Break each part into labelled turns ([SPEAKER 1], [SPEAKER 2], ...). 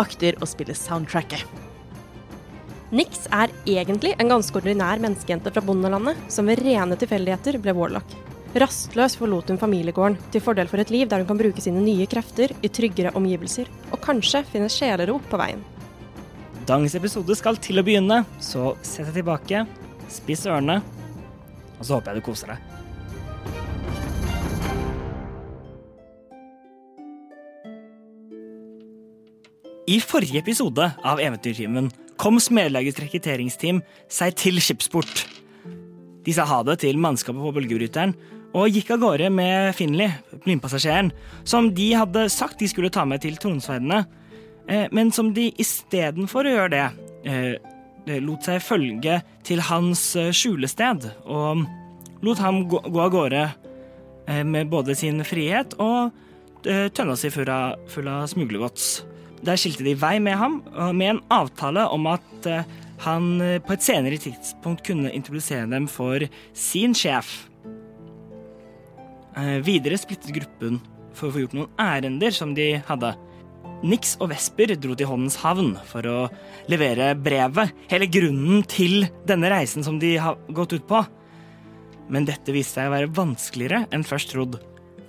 [SPEAKER 1] akter å spille soundtracket.
[SPEAKER 2] Nix er egentlig en ganske ordinær menneskejente fra bondelandet, som ved rene tilfeldigheter ble warlock. Rastløs forlot hun familiegården, til fordel for et liv der hun kan bruke sine nye krefter i tryggere omgivelser, og kanskje finne sjelero på veien.
[SPEAKER 3] Dagens episode skal til å begynne, så sett deg tilbake, spiss ørene, og så håper jeg du koser deg. I forrige episode av Eventyrtimen kom Smedlagets rekrutteringsteam seg til skipsport. De sa ha det til mannskapet på bølgebryteren og gikk av gårde med Finley, blindpassasjeren, som de hadde sagt de skulle ta med til tronsverdene, eh, men som de istedenfor å gjøre det, eh, lot seg følge til hans eh, skjulested og lot ham gå, gå av gårde eh, med både sin frihet og eh, tønna si full av, full av smuglergods. Der skilte de vei med ham, og med en avtale om at eh, han eh, på et senere tidspunkt kunne introdusere dem for sin sjef. Eh, Videre splittet gruppen for å få gjort noen ærender som de hadde. Nix og Vesper dro til Håndens havn for å levere brevet, hele grunnen til denne reisen som de har gått ut på. Men dette viste seg å være vanskeligere enn først trodd.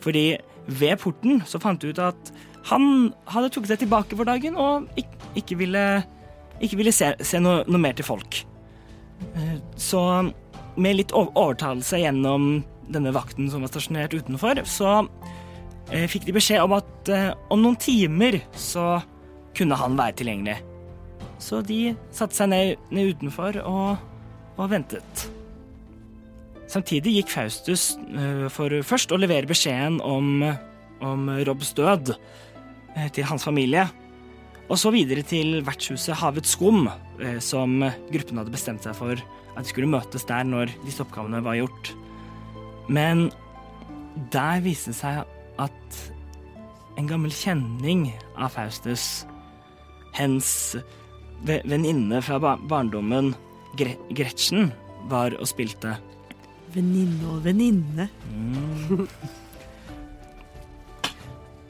[SPEAKER 3] Fordi ved porten så fant du ut at han hadde trukket seg tilbake for dagen og ikke, ikke ville, ikke ville se, se noe, noe mer til folk. Eh, Så med litt ov- overtalelse gjennom denne vakten som var stasjonert utenfor, så eh, fikk de beskjed om at eh, om noen timer så kunne han være tilgjengelig. Så de satte seg ned, ned utenfor og, og ventet. Samtidig gikk Faustus eh, for først å levere beskjeden om, om Robs død eh, til hans familie, og så videre til vertshuset Havets Skum, eh, som gruppen hadde bestemt seg for at de skulle møtes der når disse oppgavene var gjort. Men der viste det seg at en gammel kjenning av Faustus, hens ve- venninne fra ba- barndommen, Gre Gretchen, var og spilte.
[SPEAKER 1] Venninne og venninne.
[SPEAKER 3] Mm.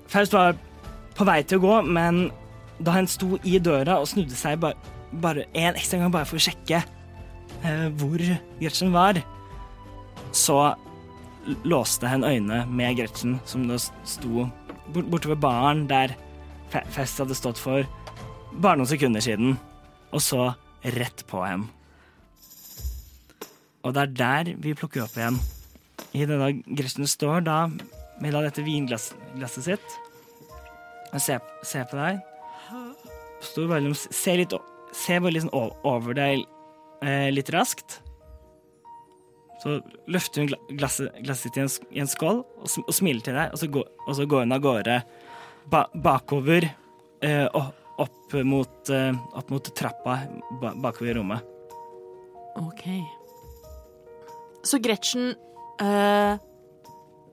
[SPEAKER 3] Faust var på vei til å gå, men da han sto i døra og snudde seg ba- bare en ekstra gang bare for å sjekke eh, hvor Gretchen var, så l- låste han øynene med Gretchen, som da s- sto bort- borte ved baren der Fa- Faust hadde stått for bare noen sekunder siden, og så rett på ham. Og det er der vi plukker opp igjen. I denne Gretchen står da med da dette vinglasset sitt. Jeg ser, ser på deg. Står bare liksom Ser litt o- ser bare liksom o- over deg eh, litt raskt. Så løfter hun gla- glasset, glasset sitt i en, sk- i en skål og, sm og smiler til deg, og så, går, og så går hun av gårde ba bakover eh, og opp mot, eh, opp mot trappa ba bakover i rommet.
[SPEAKER 4] Ok. Så Gretchen eh,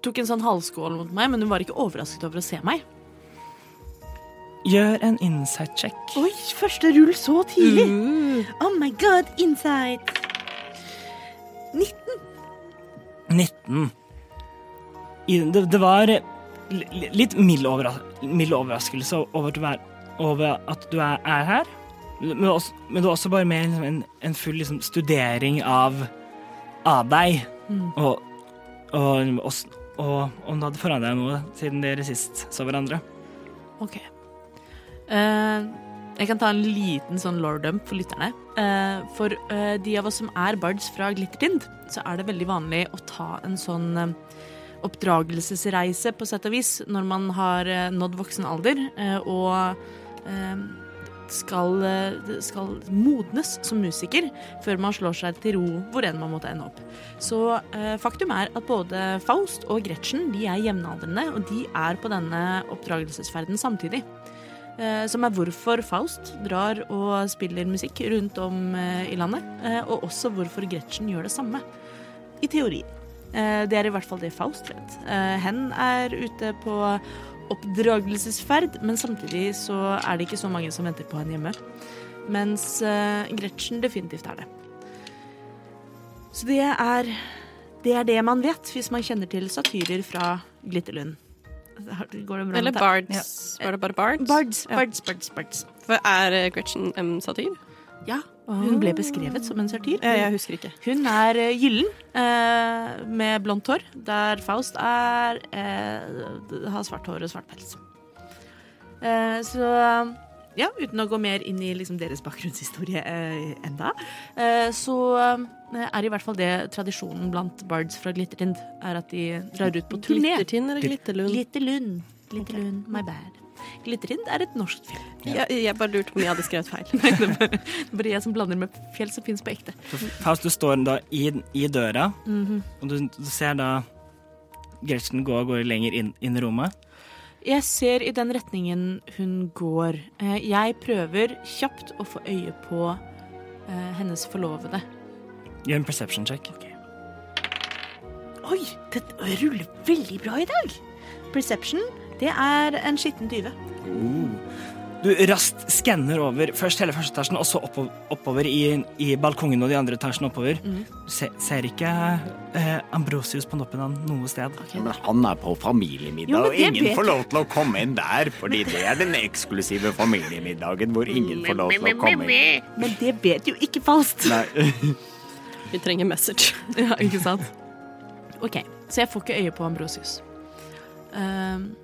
[SPEAKER 4] tok en sånn halvskål mot meg, men hun var ikke overrasket over å se meg.
[SPEAKER 3] Gjør en insight check.
[SPEAKER 1] Oi, første rull så tidlig!
[SPEAKER 4] Mm.
[SPEAKER 1] Oh my god, inside!
[SPEAKER 3] 19. I, det, det var li- li- litt mild, overras mild overraskelse over at du er, over at du er, er her. Men, også, men det var også bare mer liksom, en, en full liksom, studering av, av deg. Og, og, og, s- og om du hadde forandra deg noe siden dere sist så hverandre.
[SPEAKER 4] Ok. Eh, Jeg kan ta en liten sånn lore-dump for lytterne. Eh, for eh, de av oss som er bards fra Glittertind, så er det veldig vanlig å ta en sånn eh, oppdragelsesreise på sett og vis når man har eh, nådd voksen alder eh, og eh, skal, eh, skal modnes som musiker før man slår seg til ro hvor enn man måtte ende opp. Så eh, faktum er at både Faust og Gretchen de er jevnaldrende, og de er på denne oppdragelsesferden samtidig. Eh, som er hvorfor Faust drar og spiller musikk rundt om eh, i landet, eh, og også hvorfor Gretchen gjør det samme. I teorien. Eh, det er i hvert fall det Faust vet. Eh, hen er ute på oppdragelsesferd, men samtidig så er det ikke så mange som venter på henne hjemme. Mens eh, Gretchen definitivt er det. Så det er det er det man vet hvis man kjenner til satyrer fra Glitterlund. Har- Går det bra med
[SPEAKER 5] Eller
[SPEAKER 4] det?
[SPEAKER 5] Bards. Var det bare Bards?
[SPEAKER 4] Bards,
[SPEAKER 5] Ja.
[SPEAKER 4] bards, bards, bards.
[SPEAKER 5] For er eh, Gretchen M. satyr?
[SPEAKER 4] Ja, hun ble beskrevet som en satyr.
[SPEAKER 5] husker ikke.
[SPEAKER 4] Hun er eh, gyllen, eh, med blondt hår, der Faust er, eh, har svart hår og svart pels. Eh, så ja, uten å gå mer inn i liksom, deres bakgrunnshistorie eh, enda, eh, så eh, er i hvert fall det tradisjonen blant bards fra Glittertind, er at de drar ut på turné.
[SPEAKER 5] Glittertind eller Glitterlund?
[SPEAKER 4] Glitterlund. Glitterlund, my bad. Glittertind er et norsk fjell.
[SPEAKER 5] Jeg, jeg bare lurte på om jeg hadde skrevet feil.
[SPEAKER 4] Det er bare jeg som blander med fjell som finnes på ekte.
[SPEAKER 3] Faust, du står da i, i døra, og du, du ser da Gretchen gå går lenger inn, inn i rommet.
[SPEAKER 4] Jeg ser i den retningen hun går. Eh, Jeg prøver kjapt å få øye på eh, hennes forlovede.
[SPEAKER 3] Gjør en perception check.
[SPEAKER 4] Oi, det ruller veldig bra i dag! Perception, det er en skitten tyve.
[SPEAKER 3] Du raskt skanner over først hele første etasjen, og så oppo- oppover i, i balkongen og de andre etasjene oppover. Du Se, ser ikke eh, Ambrosius på noppen av noe sted.
[SPEAKER 6] Men han er på familiemiddag,
[SPEAKER 4] Jo, men
[SPEAKER 6] og
[SPEAKER 4] det
[SPEAKER 6] ingen
[SPEAKER 4] vet
[SPEAKER 6] får lov til å komme inn der. Fordi det er den eksklusive familiemiddagen hvor ingen får lov til å komme inn.
[SPEAKER 4] Men det vet jo ikke falskt.
[SPEAKER 6] Nei,
[SPEAKER 5] Vi trenger message.
[SPEAKER 4] Ja, ikke sant? OK, så jeg får ikke øye på Ambrosius. Ehm,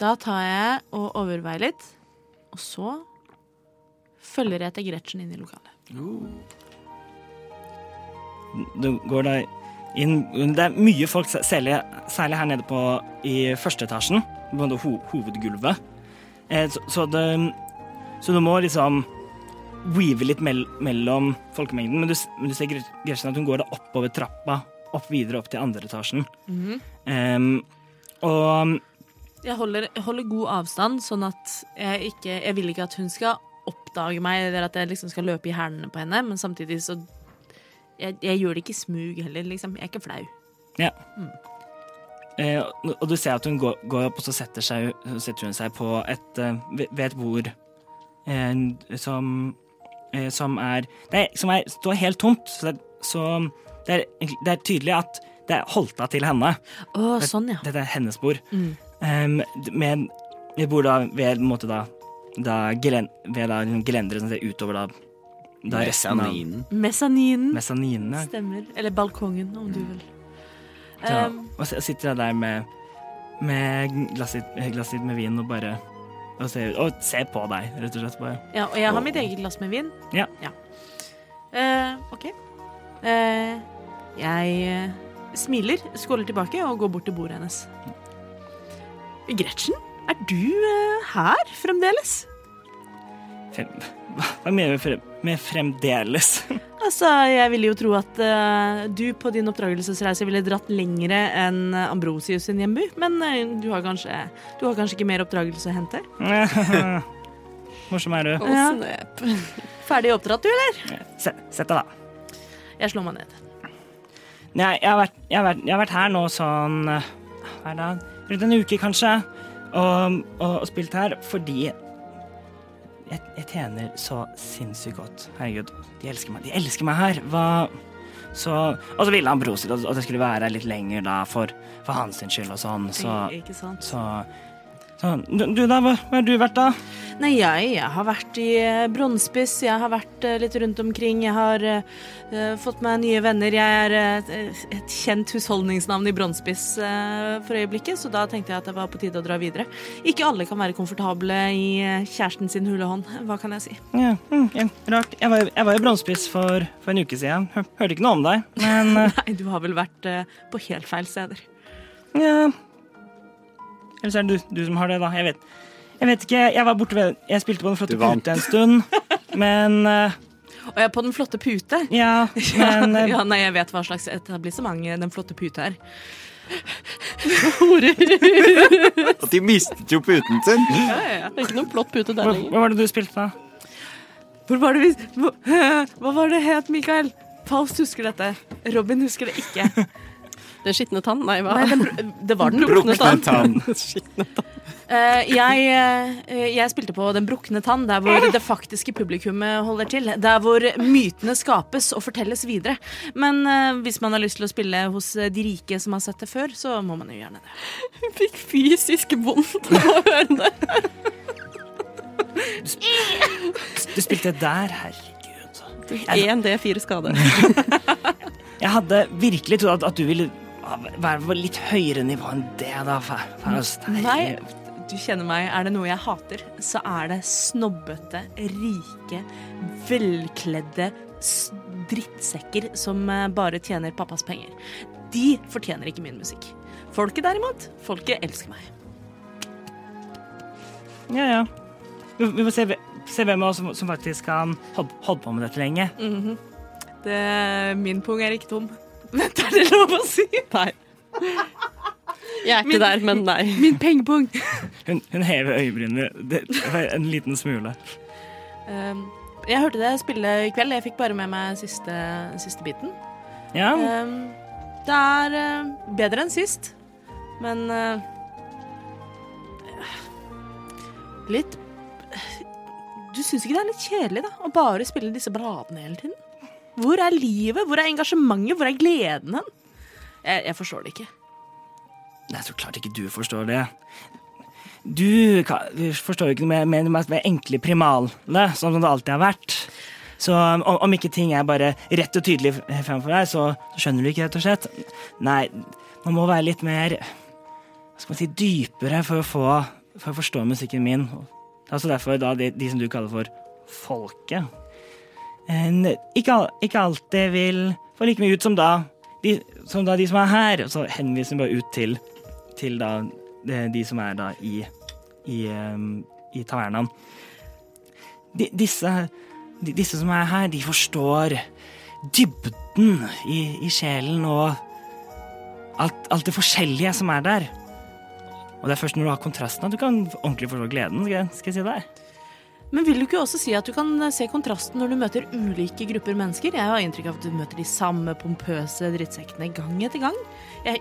[SPEAKER 4] da tar jeg og overveier litt, og så følger jeg etter Gretchen inn i lokalet.
[SPEAKER 3] Du går da inn Det er mye folk, særlig, særlig her nede på i første etasjen, på det ho hovedgulvet. Eh, så, så, det, så du må liksom weave litt mell mellom folkemengden, men du, s- men du ser Gre- Gretchen at hun går da oppover trappa, opp videre opp til andre etasjen. Em, og
[SPEAKER 4] Mhm. Jeg holder, jeg holder god avstand, sånn at jeg ikke Jeg vil ikke at hun skal oppdage meg, eller at jeg liksom skal løpe i hælene på henne, men samtidig så jeg, jeg gjør det ikke i smug heller, liksom. Jeg er ikke flau.
[SPEAKER 3] Ja. Eh, og- og du ser at hun går, går opp, og så setter, seg, så setter hun seg på et, eh, ved- ved et bord eh, som, eh, som er Det er, som er, står helt tomt, så, det, så det, er, egentlig- det er tydelig at det er holta til henne.
[SPEAKER 4] Å, sånn, ja.
[SPEAKER 3] Dette er hennes bord. Um, med, vi bor da ved en måte da, da, gelen, ved da gelendere som ser utover da, da resten av
[SPEAKER 6] mesaninen.
[SPEAKER 4] Mesaninen.
[SPEAKER 3] mesaninene. ja.
[SPEAKER 4] Stemmer. Eller balkongen, om du vil.
[SPEAKER 3] Ja,
[SPEAKER 4] Um,
[SPEAKER 3] og så sitter jeg der med, med glasset, glasset med vin og bare og ser, og ser på deg, rett og slett. Bare.
[SPEAKER 4] Ja, og jeg har mitt eget glass med vin.
[SPEAKER 3] Ja.
[SPEAKER 4] Eh, OK. Eh, jeg eh, smiler, skåler tilbake og går bort til bordet hennes. Gretchen, er du eh, her fremdeles?
[SPEAKER 3] Frem, hva mener du frem, med fremdeles?
[SPEAKER 4] Altså, jeg ville jo tro at eh, du på din oppdragelsesreise ville dratt lengre enn eh, Ambrosius sin hjemby, men eh, du, har kanskje, du har kanskje ikke mer oppdragelse å hente?
[SPEAKER 3] Morsom er du.
[SPEAKER 5] Og
[SPEAKER 4] Ja.
[SPEAKER 5] snap.
[SPEAKER 4] Ferdig oppdratt, du, eller?
[SPEAKER 3] Se- Sett deg, da.
[SPEAKER 4] Jeg slår meg ned.
[SPEAKER 3] Nei, jeg har, vært, jeg, har vært, jeg har vært her nå sånn eh, Hva er det? Rundt en uke, kanskje. Og, og, og spilt her fordi jeg, jeg tjener så sinnssykt godt. Herregud, de elsker meg. De elsker meg her. Hva Så Og så ville han bror sin at at jeg skulle være her litt lenger da, for, for hans sin skyld og sånn, så,
[SPEAKER 4] Ikke sant?
[SPEAKER 3] så Så, han, du, du da, hva hva har du vært da?
[SPEAKER 4] Nei, jeg, jeg har vært i eh, Brønnspiss, jeg har vært eh, litt rundt omkring, jeg har eh, eh, fått meg nye venner. Jeg er eh, et, et kjent husholdningsnavn i Brønnspiss eh, for øyeblikket, så da tenkte jeg at det var på tide å dra videre. Ikke alle kan være komfortable i eh, kjæresten sin hule hånd, hva kan jeg si?
[SPEAKER 3] Ja, mm, ja, rart. Jeg var, jeg var i Brønnspiss for, for en uke siden. Hør, hørte ikke noe om deg, men eh,
[SPEAKER 4] Nei, du har vel vært eh, på helt feil steder.
[SPEAKER 3] Ja Eller så er det du, du som har det, da. Jeg vet, jeg vet ikke. Jeg var borte ved Jeg spilte på Den flotte
[SPEAKER 6] Du vant.
[SPEAKER 3] pute en stund. Men eh,
[SPEAKER 4] Og jeg er på Den flotte pute.
[SPEAKER 3] Ja, men eh,
[SPEAKER 4] ja, nei, jeg vet hva slags etablissement eh, Den flotte pute er.
[SPEAKER 6] At de mistet jo puten sin.
[SPEAKER 5] Det er ikke noen flott pute der
[SPEAKER 3] hva,
[SPEAKER 5] lenger.
[SPEAKER 3] hva var det du spilte, da?
[SPEAKER 4] Hvor var det vi Hva, hva var det het, Mikael? Faust husker dette. Robin husker det ikke.
[SPEAKER 5] Den skitne tann? Nei, hva?
[SPEAKER 4] Nei, den, det var den brukne
[SPEAKER 6] Brukne
[SPEAKER 4] tann.
[SPEAKER 6] tann.
[SPEAKER 4] Eh, jeg, eh, jeg spilte på Den brukne tann, der hvor det faktiske publikummet holder til. Der hvor mytene skapes og fortelles videre. Men eh, hvis man har lyst til å spille hos eh, de rike som har sett det før, så må man jo gjerne det.
[SPEAKER 5] Jeg fikk fysisk vondt av å høre det.
[SPEAKER 3] Du spilte der, herregud.
[SPEAKER 5] Én D4 skade.
[SPEAKER 3] Jeg hadde virkelig trodd at, at du ville ah, være på litt høyere nivå enn det, da. Fa- Faust.
[SPEAKER 4] Nei,
[SPEAKER 3] Herregud.
[SPEAKER 4] du kjenner meg. Er det noe jeg hater, så er det snobbete, rike, velkledde s- drittsekker som eh, bare tjener pappas penger. De fortjener ikke min musikk. Folket derimot, folket elsker meg.
[SPEAKER 3] Ja, ja. Vi, vi må se, hve- se hvem av oss som, som faktisk kan holde, holde på med dette lenge.
[SPEAKER 4] Det, min pung er ikke tom. Vent, er det lov å si? Nei.
[SPEAKER 5] Jeg er ikke der, men nei.
[SPEAKER 4] Min pengepung.
[SPEAKER 3] Hun, hun hever øyebrynene det- en liten smule.
[SPEAKER 4] Um, jeg hørte det spille i kveld. Jeg fikk bare med meg siste, siste biten.
[SPEAKER 3] Ja,
[SPEAKER 4] Um, det er eh, bedre enn sist, men eh, Litt Du syns ikke det er litt kjedelig, da? Å bare spille disse bladene hele tiden? Hvor er livet? Hvor er engasjementet? Hvor er gleden hen? Jeg, jeg forstår det ikke.
[SPEAKER 3] Nei, så klart ikke du forstår det. Du ka- forstår jo ikke noe mer mer enn at vi er enkle primalene, sånn som det alltid har vært. Så um, om, om ikke ting er bare rett og tydelig f- fremfor deg, så, så skjønner du ikke, rett og slett. Nei, man må være litt mer hva skal man si, dypere for å, få, for å forstå musikken min. Det er altså derfor da de, de som du kaller for folket, en, ikke, al- ikke alltid vil få like mye ut som da de som, da de som er her. Og så henviser hun bare ut til til da de, de som er da i i, ehm, i tavernaen. De, disse, de, disse som er her, de forstår dybden i, i sjelen og alt, alt det forskjellige som er der. Og det er først når du har kontrasten at du kan ordentlig forstå gleden, skal jeg, skal jeg si deg.
[SPEAKER 4] Men vil du ikke også si at du kan eh, se kontrasten når du møter ulike grupper mennesker? Jeg har inntrykk av at du møter de samme pompøse drittsekkene gang etter gang. Jeg,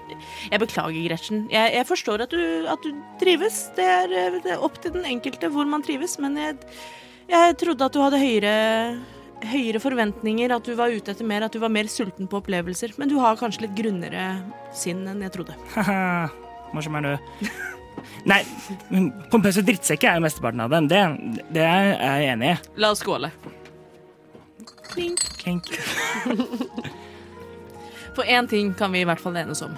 [SPEAKER 4] jeg beklager, Gretchen. Jeg, jeg forstår at du, at du trives. Det er, eh, det er opp til den enkelte hvor man trives, men jeg, jeg trodde at du hadde høyere, høyere forventninger, at du var ute etter mer, at du var mer sulten på opplevelser. Men du har kanskje litt grunnere sinn enn jeg trodde.
[SPEAKER 3] Haha, morsom er du. Nei, men pompøse drittsekker er jo mesteparten av dem. Det, det er jeg enig i.
[SPEAKER 4] La oss skåle.
[SPEAKER 3] Klink.
[SPEAKER 4] For én ting kan vi i hvert fall enes om.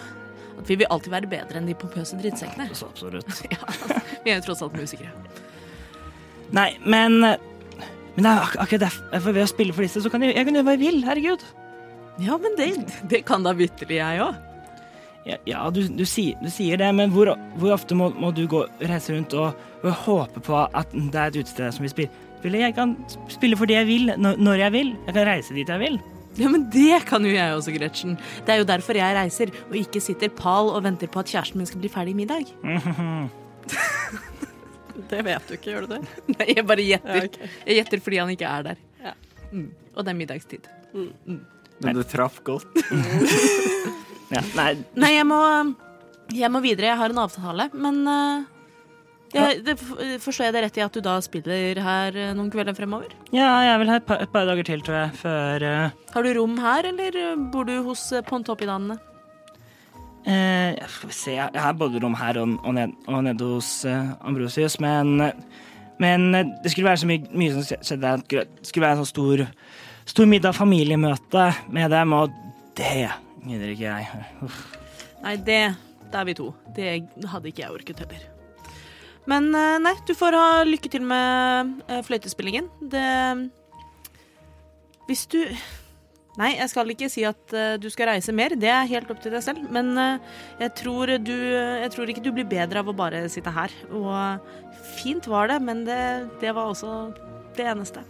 [SPEAKER 4] At vi vil alltid være bedre enn de pompøse drittsekkene.
[SPEAKER 3] Så absolutt.
[SPEAKER 4] Vi er jo tross alt musikere.
[SPEAKER 3] Nei, men Men det er ak akkurat derf- derfor ved å spille for disse, så kan jeg, jeg kan gjøre hva jeg vil. Herregud.
[SPEAKER 4] Ja, men det, det kan da vitterlig jeg òg.
[SPEAKER 3] Ja, ja du, du, sier, du sier det, men hvor, hvor ofte må, må du gå, reise rundt og, og håpe på at det er et utested som vil spille? Spille- Jeg kan spille for det jeg vil, når, når jeg vil. Jeg kan reise dit jeg vil.
[SPEAKER 4] Ja, men det kan jo jeg også, Gretchen. Det er jo derfor jeg reiser, og ikke sitter pal og venter på at kjæresten min skal bli ferdig i middag.
[SPEAKER 5] Det vet du ikke, gjør du det?
[SPEAKER 4] Nei, jeg bare gjetter.
[SPEAKER 5] Ja, ok.
[SPEAKER 4] Jeg gjetter fordi han ikke er der.
[SPEAKER 5] Ja.
[SPEAKER 4] Mm. Og det er middagstid.
[SPEAKER 6] Men det traff godt.
[SPEAKER 3] Ja, nei,
[SPEAKER 4] Nei, jeg må, jeg må videre. Jeg har en avtale, men eh, jeg, det, Forstår jeg det rett i at du da spiller her eh, noen kvelder fremover?
[SPEAKER 3] ja, jeg vil ha et par, et par dager til, tror jeg, før eh,
[SPEAKER 4] eh, Har du rom her, eller bor du hos eh, Pontoppidanene?
[SPEAKER 3] Eh, skal vi se, jeg har både rom her og, og, ned, og nede hos eh, Ambrosius, men, men eh, det skulle være så mye, mye som skje- skjedde. Det skulle- Det skulle være en sånn stor, stor middag, familiemøte med dem, og det gidder ikke jeg. Uff.
[SPEAKER 4] Nei, det Da er vi to. Det hadde ikke jeg orket heller. Men eh, nei, du får ha lykke til med eh, fløytespillingen. Det Hvis du Nei, jeg skal ikke si at eh, du skal reise mer, det er helt opp til deg selv. Men eh, jeg, tror du, jeg tror ikke du blir bedre av å bare sitte her. Og fint var det, men det, det var også det eneste.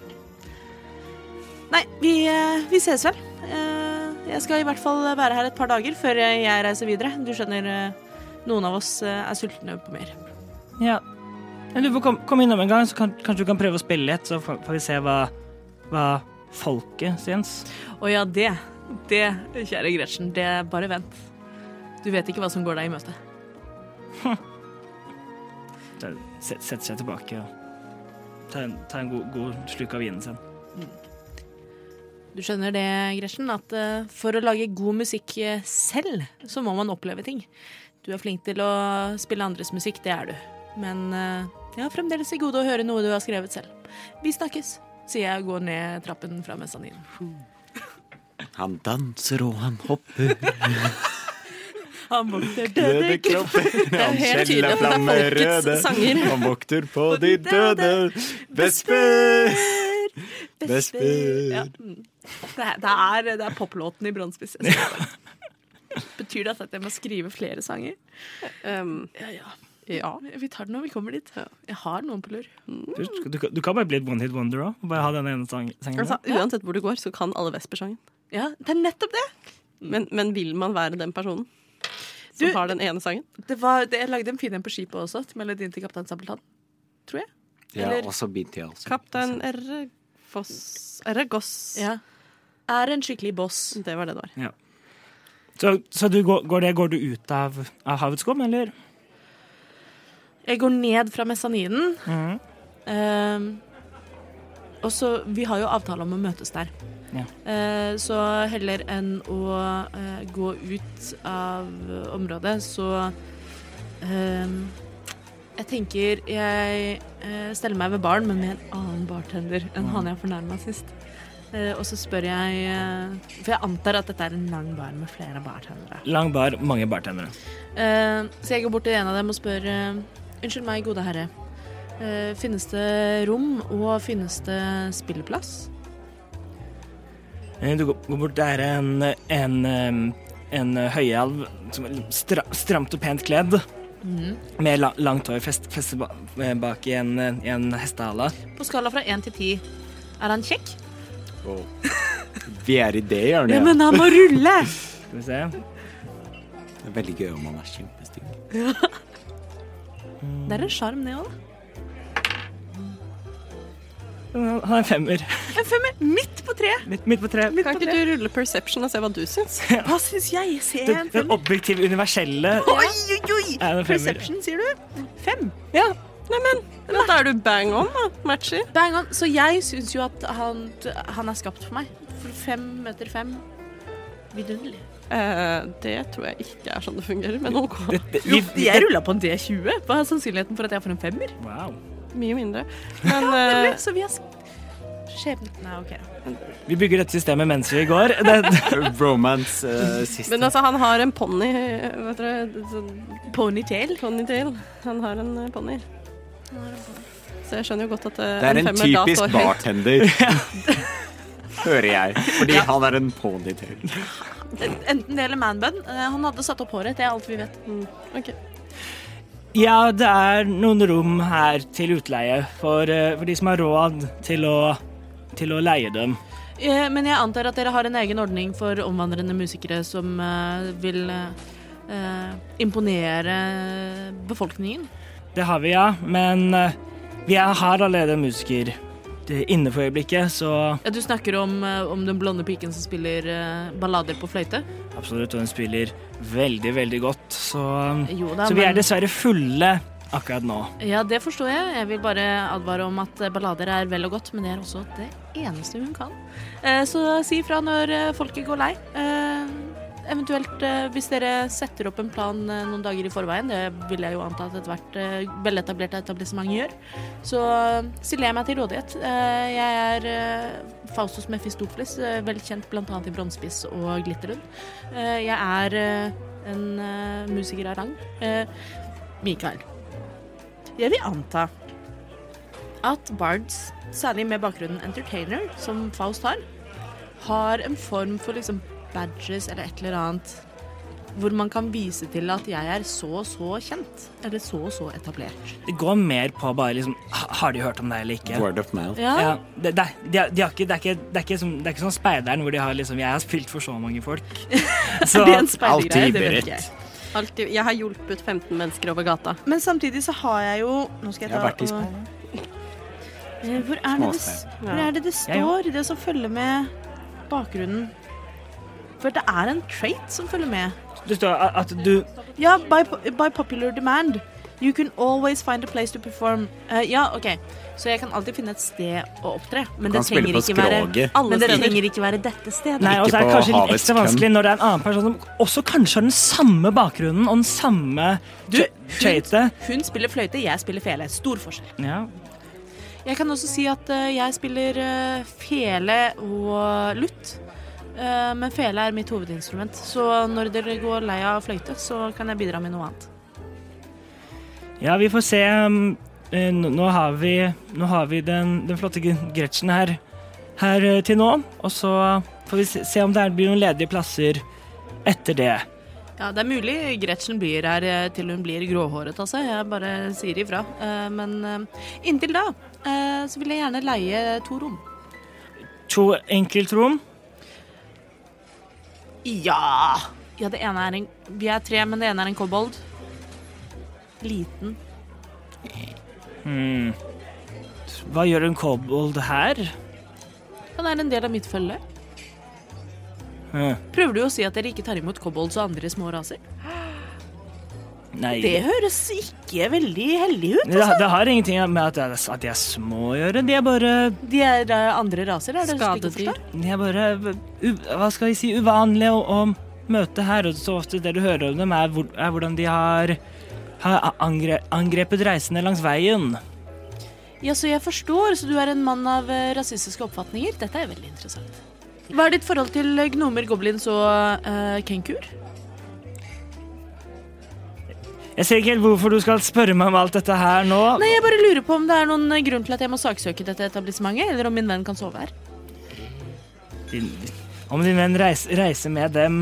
[SPEAKER 4] Nei, vi, eh, vi ses vel. Eh, Jeg skal i hvert fall være her et par dager før jeg reiser videre. Du skjønner, eh, noen av oss eh, er sultne på mer.
[SPEAKER 3] Ja. Jeg lurer på, kom, kom innom en gang, så kan, kanskje du kan prøve å spille litt, så får får vi se hva, hva folket syns.
[SPEAKER 4] Å ja, det. Det, kjære Gretchen, det er bare vent. Du vet ikke hva som går deg i møte.
[SPEAKER 3] Så set- Setter seg tilbake og tar en, tar en god, god sluk av vinen sin.
[SPEAKER 4] Du skjønner det, Gretchen, at eh, for å lage god musikk eh, selv, så må man oppleve ting. Du er flink til å spille andres musikk, det er du. Men eh, jeg har fremdeles til gode å høre noe du har skrevet selv. Vi snakkes, sier jeg og går ned trappen fra mesaninen.
[SPEAKER 6] Han danser og han hopper,
[SPEAKER 4] Han vokter
[SPEAKER 6] døde klopper, han
[SPEAKER 5] helt tydelig
[SPEAKER 6] skjeller
[SPEAKER 5] at det er
[SPEAKER 6] flammer
[SPEAKER 5] folkets
[SPEAKER 6] røde.
[SPEAKER 5] sanger.
[SPEAKER 6] Han vokter på de døde. Vesper! Vesper.
[SPEAKER 4] Ja. mm. Det, er- det er, det er poplåten i Brannspiss. jeg skal bare- Betyr det at jeg må skrive flere sanger?
[SPEAKER 5] Um,
[SPEAKER 4] Ja, ja. Vi tar det når vi kommer dit. Jeg har noen på lur.
[SPEAKER 3] Du, du, kan- du kan bare bli et one hit wonder òg. Bare ha den ene sang, sangen.
[SPEAKER 5] altså,
[SPEAKER 3] der.
[SPEAKER 5] uansett hvor du går, så kan alle Vesper-sangen.
[SPEAKER 4] Ja, det er nettopp det!
[SPEAKER 5] Men, men vil man være den personen som
[SPEAKER 4] Du-
[SPEAKER 5] har den ene sangen?
[SPEAKER 4] det, var, det jeg lagde en fin en på skipet også, til melodien til Kaptein Sabeltann. Tror jeg.
[SPEAKER 6] Ja,
[SPEAKER 4] Eller-
[SPEAKER 6] også beat jeg også.
[SPEAKER 5] Kaptein R. Foss R. Goss.
[SPEAKER 4] Er en skikkelig boss.
[SPEAKER 5] Det var det det var.
[SPEAKER 3] Så, så du går, går, det, går du ut av, av havets skum, eller?
[SPEAKER 4] Jeg går ned fra mesaninen. Ehm, og så Vi har jo avtale om å møtes der.
[SPEAKER 3] Ja.
[SPEAKER 4] Eh, så heller enn å eh, gå ut av området, så ehm, Jeg tenker jeg eh, steller meg ved baren, men med en annen bartender enn han jeg fornærma sist. Eh, og så spør jeg eh, For jeg antar at dette er en lang bar med flere bartendere.
[SPEAKER 3] Lang bar, mange bartendere.
[SPEAKER 4] Eh, så jeg går bort til en av dem og spør eh, Unnskyld meg, gode herre. Eh, finnes det rom, og finnes det spilleplass?
[SPEAKER 3] Eh, Du går går bort der en, en, em, en høyelv som er stra, stramt og pent kledd.
[SPEAKER 4] Mhm.
[SPEAKER 3] Med la, langt hår fest, festet ba- eh, bak i en, eh, i en hestehale.
[SPEAKER 4] På skala fra én til ti, er han kjekk?
[SPEAKER 6] Wow. Vi er i det hjørnet, ja.
[SPEAKER 4] han må rulle!
[SPEAKER 3] Skal vi se.
[SPEAKER 6] Det er veldig gøy om han er kjempestygg.
[SPEAKER 4] Det er en sjarm, det òg, da.
[SPEAKER 3] Han er en femmer.
[SPEAKER 4] En femmer midt på treet!
[SPEAKER 3] Midt, midt på treet.
[SPEAKER 5] Kan ikke du rulle perception og se hva du syns?
[SPEAKER 4] Hva syns jeg? Se
[SPEAKER 3] Den,
[SPEAKER 4] en
[SPEAKER 3] den
[SPEAKER 4] femmer.
[SPEAKER 3] objektive, universelle
[SPEAKER 4] Oi, oi, oi!
[SPEAKER 3] er en femmer.
[SPEAKER 4] Perception, sier du? Fem.
[SPEAKER 5] Neimen, da er du bang on, da. Matcher.
[SPEAKER 4] Bang on. Så jeg syns jo at han, han er skapt for meg. For fem møter fem. Vidunderlig.
[SPEAKER 5] Eh, det tror jeg ikke er sånn det fungerer, men OK.
[SPEAKER 3] Det- det-
[SPEAKER 4] Jo,
[SPEAKER 3] vi-
[SPEAKER 4] jeg rulla på en D20. Hva er sannsynligheten for at jeg får en femmer?
[SPEAKER 3] Wow.
[SPEAKER 5] Mye mindre. Men eh,
[SPEAKER 4] Så vi har Skjebne Nei, OK.
[SPEAKER 3] Vi bygger dette systemet mens vi går. Det,
[SPEAKER 6] Romance eh, sist.
[SPEAKER 5] Men altså, han har en ponni, vet dere. sånn
[SPEAKER 4] Ponytail.
[SPEAKER 5] Ponytail. Han har en eh, ponni. Så jeg skjønner jo godt at eh,
[SPEAKER 6] Det er en
[SPEAKER 5] femmer da
[SPEAKER 6] typisk
[SPEAKER 5] står høyt.
[SPEAKER 6] bartender. Hører jeg. Fordi han er en ponytail.
[SPEAKER 4] Enten det eller manbun. Eh, Han hadde satt opp håret. Det er alt vi vet.
[SPEAKER 5] Ok.
[SPEAKER 3] Ja, det er noen rom her til utleie for, eh, for de som har råd til å, til å leie dem.
[SPEAKER 4] Eh, Men jeg antar at dere har en egen ordning for omvandrende musikere som eh, vil eh, eh, imponere befolkningen.
[SPEAKER 3] Det har vi, ja, men eh, vi er- har allerede en musiker det- inne for øyeblikket, så
[SPEAKER 4] Ja, du snakker om, eh, om den blonde piken som spiller eh, ballader på fløyte?
[SPEAKER 3] absolutt, og hun spiller veldig, veldig godt, så,
[SPEAKER 4] Eh, Jo da,
[SPEAKER 3] så vi er
[SPEAKER 4] men-
[SPEAKER 3] dessverre fulle akkurat nå.
[SPEAKER 4] Ja, det forstår jeg. Jeg vil bare advare om at ballader er vel og godt, men det er også det eneste hun kan. Eh, Så si fra når eh, folket går lei. Eh, eventuelt eh, hvis dere setter opp en plan eh, noen dager i forveien, det vil jeg jo anta at ethvert eh, veletablert etablissement gjør, så eh, stiller jeg meg til rådighet. Eh, jeg er eh, Faustus Mephistopheles, eh, vel kjent bl.a. i Bronsebiss og Glitterund. Eh, jeg er eh, en eh, musiker av rang. Eh, Mikael. Jeg vil anta at bards, særlig med bakgrunnen entertainer, som Faust har, har en form for liksom badges eller et eller annet hvor man kan vise til at jeg er så og så kjent, eller så og så etablert.
[SPEAKER 3] Det går mer på bare liksom ha- Har de hørt om deg eller ikke?
[SPEAKER 6] Word of mouth.
[SPEAKER 4] Ja,
[SPEAKER 3] Ja, det, det, de, har- de har ikke, det, er ikke, det, er ikke som, det er ikke sånn speideren hvor de har liksom Jeg har spilt for så mange folk. Så,
[SPEAKER 4] Det er en speidergreie,
[SPEAKER 6] Alltid
[SPEAKER 4] det vet
[SPEAKER 6] beredt.
[SPEAKER 4] ikke jeg.
[SPEAKER 5] Alltid, jeg har hjulpet 15 mennesker over gata.
[SPEAKER 1] Men samtidig så har jeg jo Nå skal jeg
[SPEAKER 6] Jeg
[SPEAKER 1] ta
[SPEAKER 6] har vært i
[SPEAKER 1] og-
[SPEAKER 6] Spania.
[SPEAKER 1] Eh, Hvor er, det det,
[SPEAKER 6] Småstein.
[SPEAKER 1] hvor er det det står, det som følger med bakgrunnen? For det er en trait som følger med.
[SPEAKER 3] det står a- at du
[SPEAKER 1] Ja, by, by popular demand. You can always find a place to perform. Eh, ja, OK. Så jeg kan alltid finne et sted å opptre. Men
[SPEAKER 6] Du
[SPEAKER 1] det
[SPEAKER 6] kan spille
[SPEAKER 1] trenger
[SPEAKER 6] på
[SPEAKER 1] ikke være
[SPEAKER 6] skroget.
[SPEAKER 1] alle
[SPEAKER 4] Men det
[SPEAKER 1] steder.
[SPEAKER 4] trenger ikke være dette stedet.
[SPEAKER 3] Nei,
[SPEAKER 6] Ikke
[SPEAKER 3] og så er det
[SPEAKER 6] på
[SPEAKER 3] kanskje litt
[SPEAKER 6] havets
[SPEAKER 3] ekstra
[SPEAKER 6] kønn.
[SPEAKER 3] vanskelig når det er en annen person som også kanskje har den samme bakgrunnen og den samme
[SPEAKER 4] Du,
[SPEAKER 3] traitet.
[SPEAKER 4] Hun spiller fløyte, jeg spiller fele. Stor forskjell.
[SPEAKER 3] Ja.
[SPEAKER 4] Jeg kan også si at eh, jeg spiller eh, fele og lutt. Eh, men fele er mitt hovedinstrument, så når dere går lei av fløyte, så kan jeg bidra med noe annet.
[SPEAKER 3] ja, vi får se. um, eh, Nå nå har vi, nå har vi den, den flotte Gre- Gretchen her, her eh, til nå. Og så får vi se- se om det er- blir noen ledige plasser etter det.
[SPEAKER 4] Ja, Det er mulig Gretchen blir her eh, til hun blir gråhåret, altså. Jeg bare sier ifra. Eh, Men eh, inntil da eh, så vil jeg gjerne leie to rom.
[SPEAKER 3] To enkeltrom.
[SPEAKER 4] Ja! Ja, det ene er en Vi er tre, men det ene er en kobold. Liten.
[SPEAKER 3] Hmm. Hva gjør en kobold her?
[SPEAKER 4] Han er en del av mitt følge.
[SPEAKER 3] Hm,
[SPEAKER 4] Prøver du å si at dere ikke tar imot kobolds og andre små raser?
[SPEAKER 3] Nei.
[SPEAKER 4] Det høres ikke veldig heldig ut.
[SPEAKER 3] Det, det har ingenting med at jeg, at jeg er små å gjøre. De er bare
[SPEAKER 4] De er eh, andre raser, er det
[SPEAKER 5] Skadedyr.
[SPEAKER 4] slik å forstå?
[SPEAKER 3] De er bare u, Hva skal vi si uvanlige å, å møte her. Og så ofte det du hører om dem, er, hvor, er hvordan de har, har angre, angrepet reisende langs veien.
[SPEAKER 4] Ja, så jeg forstår, så du er en mann av eh, rasistiske oppfatninger. Dette er veldig interessant. Hva er ditt forhold til eh, gnomer, goblins og uh, kenkur?
[SPEAKER 3] Jeg ser ikke helt hvorfor du skal spørre meg om alt dette her nå.
[SPEAKER 4] Nei, jeg bare lurer på om det er noen eh, grunn til at jeg må saksøke dette etablissementet, eller om min venn kan sove her.
[SPEAKER 3] Din, om din venn reis, reiser med dem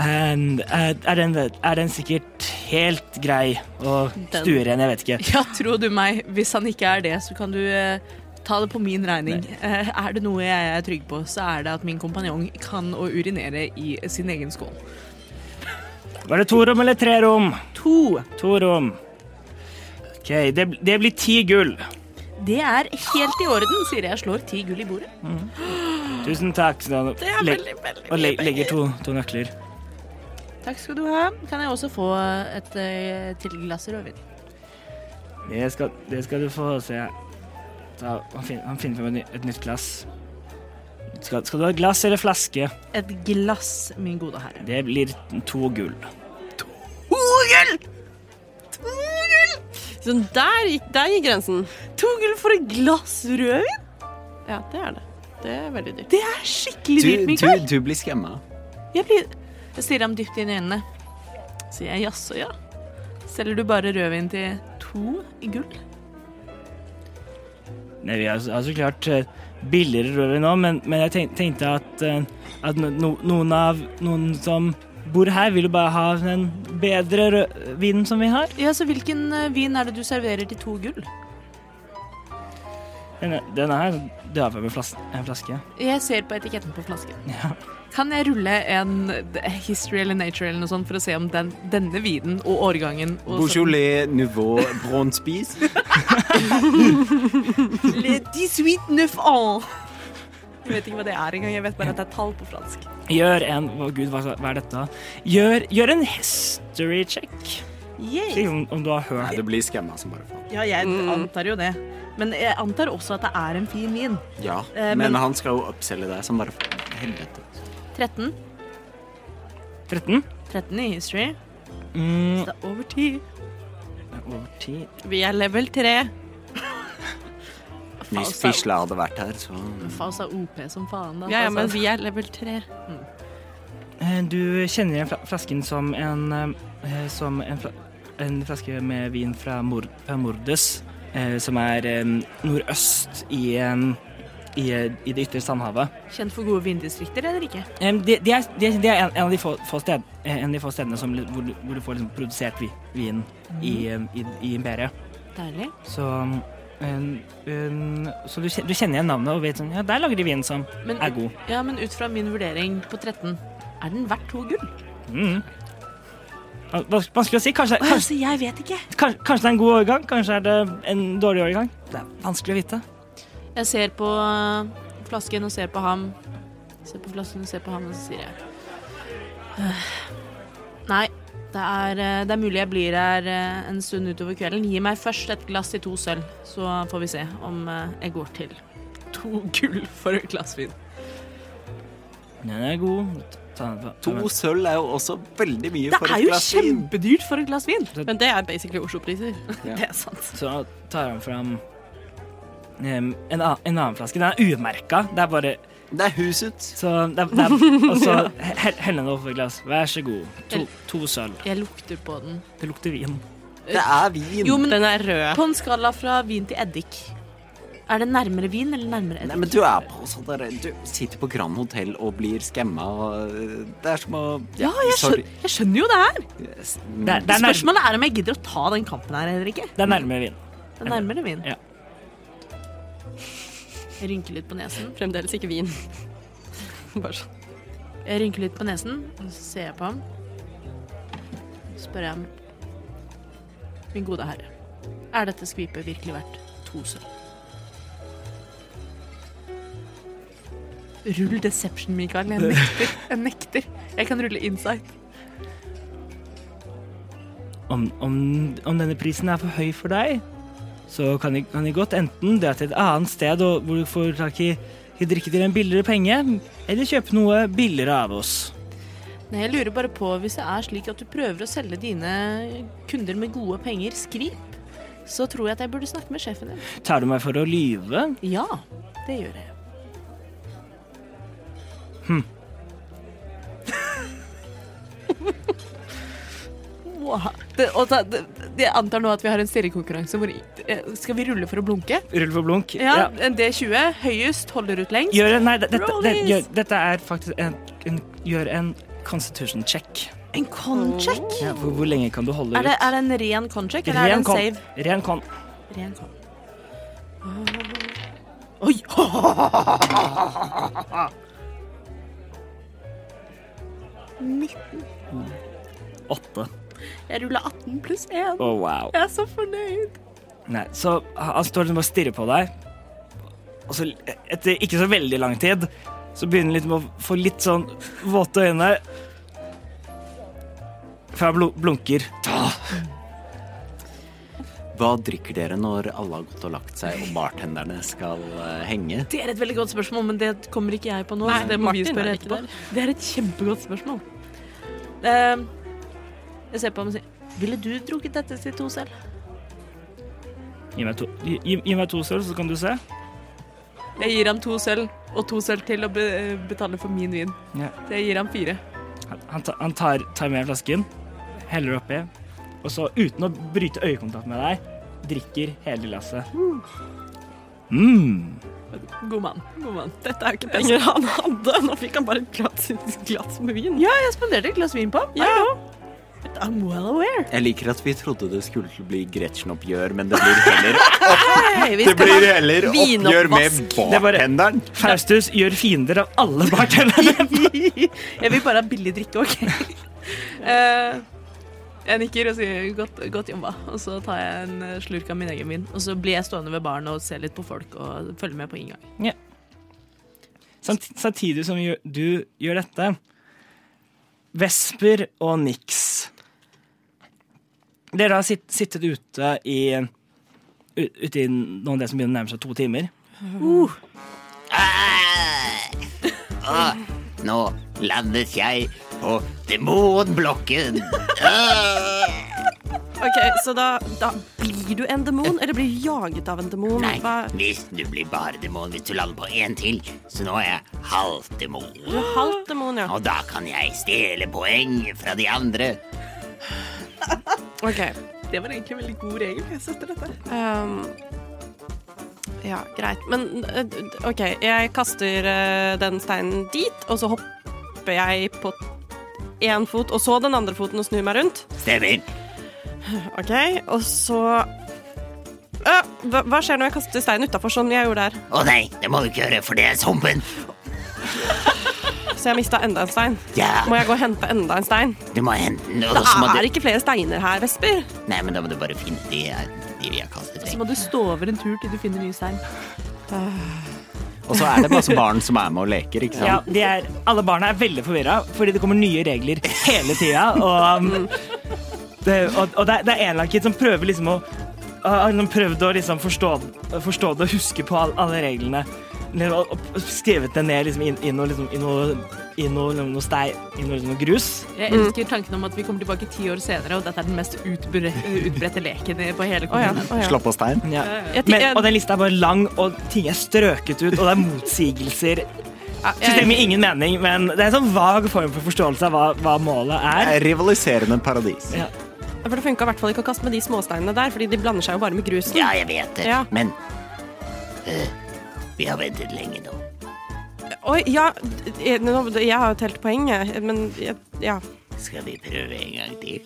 [SPEAKER 3] and, eh, er, den, er den sikkert helt grei å
[SPEAKER 4] Den-
[SPEAKER 3] stue igjen? Jeg vet ikke.
[SPEAKER 4] Ja, tro du meg, hvis han ikke er det, så kan du eh, ta det på min regning. Eh, er det noe jeg er trygg på, så er det at min kompanjong kan å urinere i sin egen skål.
[SPEAKER 3] Var det to rom eller tre rom?
[SPEAKER 4] To.
[SPEAKER 3] To rom. OK, det, det blir ti gull.
[SPEAKER 4] Det er helt i orden, sier jeg slår ti gull i bordet.
[SPEAKER 3] Tusen takk. Da,
[SPEAKER 4] Det er
[SPEAKER 3] leg-
[SPEAKER 4] veldig, veldig,
[SPEAKER 3] Og le legger to, to nøkler.
[SPEAKER 4] Takk skal du ha. Kan jeg også få et eh, til glass rødvin?
[SPEAKER 3] Det skal, det skal du få se. Da, han, finner, han finner frem et, ny- et nytt glass. Skal, skal du ha glass eller flaske?
[SPEAKER 4] Et glass, min gode herre.
[SPEAKER 3] Det blir to gull.
[SPEAKER 5] Så der gikk, der gikk grensen.
[SPEAKER 4] To gull for et glass rødvin?
[SPEAKER 5] Ja, det er det. Det er veldig dyrt.
[SPEAKER 4] Det er skikkelig dyrt,
[SPEAKER 6] Du,
[SPEAKER 4] Mikael.
[SPEAKER 6] du, du blir skremma.
[SPEAKER 4] Jeg, blir... jeg stirrer ham dypt inn i øynene. Sier jeg jaså, ja? Selger du bare rødvin til to i gull?
[SPEAKER 3] Nei, vi har så har så klart eh, billigere rødvin nå, men, men jeg tenk, tenkte at, eh, at no, no, noen av noen som bor her, vil jo bare ha den bedre rød- vinen som vi har.
[SPEAKER 4] Ja, så hvilken eh, vin er det du serverer til to gull?
[SPEAKER 3] Denne, denne her døver jeg med flas en flaske.
[SPEAKER 4] Jeg ser på etiketten på flasken.
[SPEAKER 3] Ja.
[SPEAKER 4] Kan jeg rulle en eh, history eller nature eller noe sånt for å se om den, denne vinen og årgangen og sånn-
[SPEAKER 6] Beaujolais nouveau bronzebies.
[SPEAKER 4] Le 18 neuf ans. Jeg vet ikke hva det er engang. Jeg vet bare at det er tall på fransk.
[SPEAKER 3] Gjør en Å, gud, hva, hva er dette? Gjør, gjør en history check. Si om, om du har hørt
[SPEAKER 6] Du blir skremma som bare faen.
[SPEAKER 1] Ja, jeg antar jo det. Men jeg antar også at det er en fin vin.
[SPEAKER 6] Ja,
[SPEAKER 1] Eh, men-
[SPEAKER 6] men han skal jo upselge deg som bare faen. Helvete.
[SPEAKER 4] 13.
[SPEAKER 3] 13?
[SPEAKER 4] 13 i history.
[SPEAKER 3] Mm,
[SPEAKER 4] Så det er over 10.
[SPEAKER 3] over 10
[SPEAKER 4] Vi er level 3.
[SPEAKER 6] Hvis Fisla hadde vært her, så
[SPEAKER 4] Faust er OP som faen. Da. Altså,
[SPEAKER 5] Ja, ja, men
[SPEAKER 4] Faust er-
[SPEAKER 5] vi er level 3.
[SPEAKER 3] Eh, Du kjenner igjen fla- flasken som en eh, Som en, fla en flaske med vin fra, Mor fra Mordes, eh, som er eh, nordøst i, eh, i, eh, i det ytre sandhavet.
[SPEAKER 4] Kjent for gode vindistrikter eller ikke?
[SPEAKER 3] Eh, Det, det er, det, det er en, en, av de få, få sted, eh, en av de få stedene som, li- hvor, du, hvor du får liksom produsert vi, vin i, eh, i, i imperiet.
[SPEAKER 4] Deilig.
[SPEAKER 3] Så, eh, eh, så du, kje- du kjenner igjen navnet og vet sånn Ja, der lager de vin som
[SPEAKER 4] Men,
[SPEAKER 3] er god.
[SPEAKER 4] Ja, men ut fra min vurdering på 13, er den verdt to gull?
[SPEAKER 3] Mm. Vans- Vanskelig å si. Kanskje, kanskje
[SPEAKER 4] Altså, jeg vet ikke.
[SPEAKER 3] Kanskje, kanskje det er en god årgang, kanskje er det en dårlig årgang. Det er vanskelig å vite.
[SPEAKER 4] Jeg ser på øh, flasken og ser på ham. Ser på flasken og ser på ham, og så sier jeg «Øh, Nei, det er, øh, det er mulig jeg blir her øh, en stund utover kvelden. Gi meg først et glass til to sølv, så får vi se om øh, jeg går til to gull for et glass vin.
[SPEAKER 3] Den er god. Ta, ta, ta,
[SPEAKER 6] To sølv er jo også veldig mye
[SPEAKER 4] Det
[SPEAKER 6] for
[SPEAKER 4] er
[SPEAKER 6] et
[SPEAKER 4] jo
[SPEAKER 6] glass vin.
[SPEAKER 4] kjempedyrt for et glass vin!
[SPEAKER 5] Men det er basically Oslo-priser.
[SPEAKER 4] Det er sant.
[SPEAKER 3] så tar han fram em, en, a- en annen flaske. Den er umerka. Det er bare
[SPEAKER 6] Det er huset.
[SPEAKER 3] så det er, det er, Og så he- heller den over et glass. Vær så god. To, to sølv.
[SPEAKER 4] Jeg lukter på den.
[SPEAKER 3] Det lukter vin.
[SPEAKER 6] Det er vin.
[SPEAKER 4] Jo, men
[SPEAKER 5] Den er rød.
[SPEAKER 4] På en skala fra vin til eddik, er det nærmere vin eller nærmere
[SPEAKER 6] Nei,
[SPEAKER 4] eddik?
[SPEAKER 6] men du er på sånn der Du sitter på Grand Hotel og blir skamma og eh, Det er som å
[SPEAKER 4] Ja, jeg
[SPEAKER 6] sorry.
[SPEAKER 4] skjønner, jeg skjønner jo det her.
[SPEAKER 3] Det er, det er, nærme,
[SPEAKER 4] Spørsmålet er om jeg gidder å ta den kampen her eller ikke.
[SPEAKER 3] det er nærmere vin.
[SPEAKER 4] Det er nærmere vin.
[SPEAKER 3] Ja.
[SPEAKER 4] Jeg rynker litt på nesen.
[SPEAKER 5] Fremdeles ikke vin. Bare sånn.
[SPEAKER 4] Jeg rynker litt på nesen, og så ser jeg på ham. Så spør jeg ham. Min gode herre, er dette skvipet virkelig verdt to sølv? Rull deception, Mikael. Jeg nekter. Jeg nekter. Jeg kan rulle insight.
[SPEAKER 3] Om, om, om denne prisen er for høy for deg, så kan de, kan de godt enten dra til et annet sted og, hvor du får tak i, i drikke til en billigere penge, eller kjøpe noe billigere av oss.
[SPEAKER 4] Nei, jeg lurer bare på hvis det er slik at du prøver å selge dine kunder med gode penger skvip, så tror jeg at jeg burde snakke med sjefen din.
[SPEAKER 3] Tar du meg for å lyve?
[SPEAKER 4] Ja, det gjør jeg. Wow. Det, og da, det, det- jeg antar nå at vi har en stirrekonkurranse hvor eh, Skal vi rulle for å blunke?
[SPEAKER 3] Rull for blunk.
[SPEAKER 4] Ja, en D20. Høyest holder ut lengst.
[SPEAKER 3] Gjør en, nei, det- dette,
[SPEAKER 4] Roll
[SPEAKER 3] det,
[SPEAKER 4] this.
[SPEAKER 3] gjør, dette er faktisk en, en Gjør en constitution check.
[SPEAKER 4] En con-check?
[SPEAKER 3] Hvor, hvor lenge kan du holde
[SPEAKER 4] Er, det-
[SPEAKER 3] ut?
[SPEAKER 4] er det en ren con-check, eller er det en
[SPEAKER 3] con.
[SPEAKER 4] save?
[SPEAKER 3] Ren con.
[SPEAKER 4] Ren sånn. Oi!
[SPEAKER 3] Åtte.
[SPEAKER 4] Jeg rulla 18 pluss 1.
[SPEAKER 3] Å, wow.
[SPEAKER 4] Jeg er så fornøyd.
[SPEAKER 3] Nei, så han står liksom og stirrer på deg, og så etter ikke så veldig lang tid så begynner han liksom å få litt sånn våte øyne. Før han blu- blunker. Ta!
[SPEAKER 6] Hva drikker dere når alle har gått og lagt seg og bartenderne skal eh, henge?
[SPEAKER 4] Det er et veldig godt spørsmål, men det kommer ikke jeg på nå. så det må vi
[SPEAKER 5] Martin
[SPEAKER 4] spørre
[SPEAKER 5] er ikke
[SPEAKER 4] etterpå. Det er et kjempegodt spørsmål. Ehm, jeg ser på ham og sier Ville du drukket dette til to selv?
[SPEAKER 3] Gi meg to, gi, gi- gi meg to sølv, så kan du se.
[SPEAKER 4] Jeg gir ham to sølv, og to sølv til å be eh, betale for min vin.
[SPEAKER 3] Ja.
[SPEAKER 4] Så jeg gir ham fire.
[SPEAKER 3] Han- Han, ta, han tar, tar med flasken, heller oppi, og så uten å bryte øyekontakt med deg, drikker hele glasset. Mm.
[SPEAKER 4] God mann. God mann.
[SPEAKER 5] Dette er jo ikke penger han hadde. Nå fikk han bare et glass, glass med vin.
[SPEAKER 4] Ja, jeg spanderte et glass vin på ham.
[SPEAKER 5] Ja.
[SPEAKER 4] I'm well aware.
[SPEAKER 6] Jeg liker at vi trodde det skulle bli Gretchen-oppgjør, men det blir heller,
[SPEAKER 4] Hei, vi
[SPEAKER 6] det
[SPEAKER 4] skal
[SPEAKER 6] blir heller oppgjør med
[SPEAKER 5] vinoppvask.
[SPEAKER 3] er bare-
[SPEAKER 6] bartenderen.
[SPEAKER 3] Faustus gjør fiender av alle bartenderne.
[SPEAKER 4] Jeg vil bare ha billig drikke, OK? Eh, jeg nikker og sier godt, godt jobba, og så tar jeg en eh, slurk av min egen vin. Og så blir jeg stående ved baren og se litt på folk og følge med på inngang.
[SPEAKER 3] Samt, samtidig som gjør- du gjør dette, Vesper og Nix. Dere har sitt, sittet ute i, u- ute i noen av det som begynner å nærme seg to timer.
[SPEAKER 7] Og nå landet jeg
[SPEAKER 6] og demonblokken.
[SPEAKER 5] Ok, Så da, da blir du en demon, eller blir du jaget av en demon?
[SPEAKER 6] Nei,
[SPEAKER 5] Hva-
[SPEAKER 6] hvis du blir bare demon hvis du lander på en til, så nå er jeg halvdemon.
[SPEAKER 5] Du er halvt demon, ja.
[SPEAKER 6] Og da kan jeg stjele poeng fra de andre.
[SPEAKER 5] Ok.
[SPEAKER 4] Det var egentlig en veldig god regel. Jeg setter dette.
[SPEAKER 5] ehm, ja, greit. Men eh, d- d- OK, jeg kaster eh, den steinen dit, og så hopper jeg på én fot, og så den andre foten og snur meg rundt.
[SPEAKER 6] Stemmer.
[SPEAKER 5] OK, og så Ø, hva, hva skjer når jeg kaster steinen utafor, sånn jeg gjorde der?
[SPEAKER 6] Å nei, det må du ikke gjøre, for det er zomben.
[SPEAKER 5] Så jeg mista enda en stein.
[SPEAKER 6] Ja,
[SPEAKER 5] Må jeg gå og hente enda en stein?
[SPEAKER 6] du må hente den. Og
[SPEAKER 5] Det
[SPEAKER 6] så må
[SPEAKER 5] er
[SPEAKER 6] du...
[SPEAKER 5] ikke flere steiner her, Vesper.
[SPEAKER 6] Nei, men da må du bare finne de jeg, de jeg kastet
[SPEAKER 4] Så
[SPEAKER 6] vekk.
[SPEAKER 4] må du stå over en tur til du finner ny stein.
[SPEAKER 8] Og så er det masse barn som er med og leker, ikke
[SPEAKER 3] Ja, de er, alle barna er veldig forvirra fordi det kommer nye regler hele tida. Og, um, det, og, og det, er- det er en eller annen kid som prøver liksom å har liksom prøvd å liksom forstå, forstå det og huske på all, alle reglene. Liksom, og- og skrevet det ned liksom, i, i noe, liksom, i noe, i noe, liksom, noe stein, i noe, liksom, noe grus.
[SPEAKER 4] Jeg elsker tanken om at vi kommer tilbake ti år senere, og dette er den mest utbre utbredte leken i- på hele
[SPEAKER 5] Å ja.
[SPEAKER 6] Mm,
[SPEAKER 4] kommunen.
[SPEAKER 5] å ja.
[SPEAKER 8] Slå på stein.
[SPEAKER 3] Ja.
[SPEAKER 5] Jeg, ti-
[SPEAKER 3] Men, og
[SPEAKER 5] jeg,
[SPEAKER 3] den lista er bare lang, og ting er strøket ut, og det er motsigelser. Systemet gir ingen mening, men det er en sånn vag form for forståelse av hva, hva målet er.
[SPEAKER 8] Rivaliserende paradis.
[SPEAKER 3] Ja.
[SPEAKER 5] for det funka i hvert fall ikke å kaste med de småsteinene der, Fordi de blander seg jo bare med grusen.
[SPEAKER 6] Ja, jeg vet det,
[SPEAKER 5] Ja.
[SPEAKER 6] men eh, vi har ventet lenge nå.
[SPEAKER 5] Oi, ja d- jeg, nå, jeg har jo telt poeng, jeg, men jeg, ja.
[SPEAKER 6] Skal vi prøve en gang til?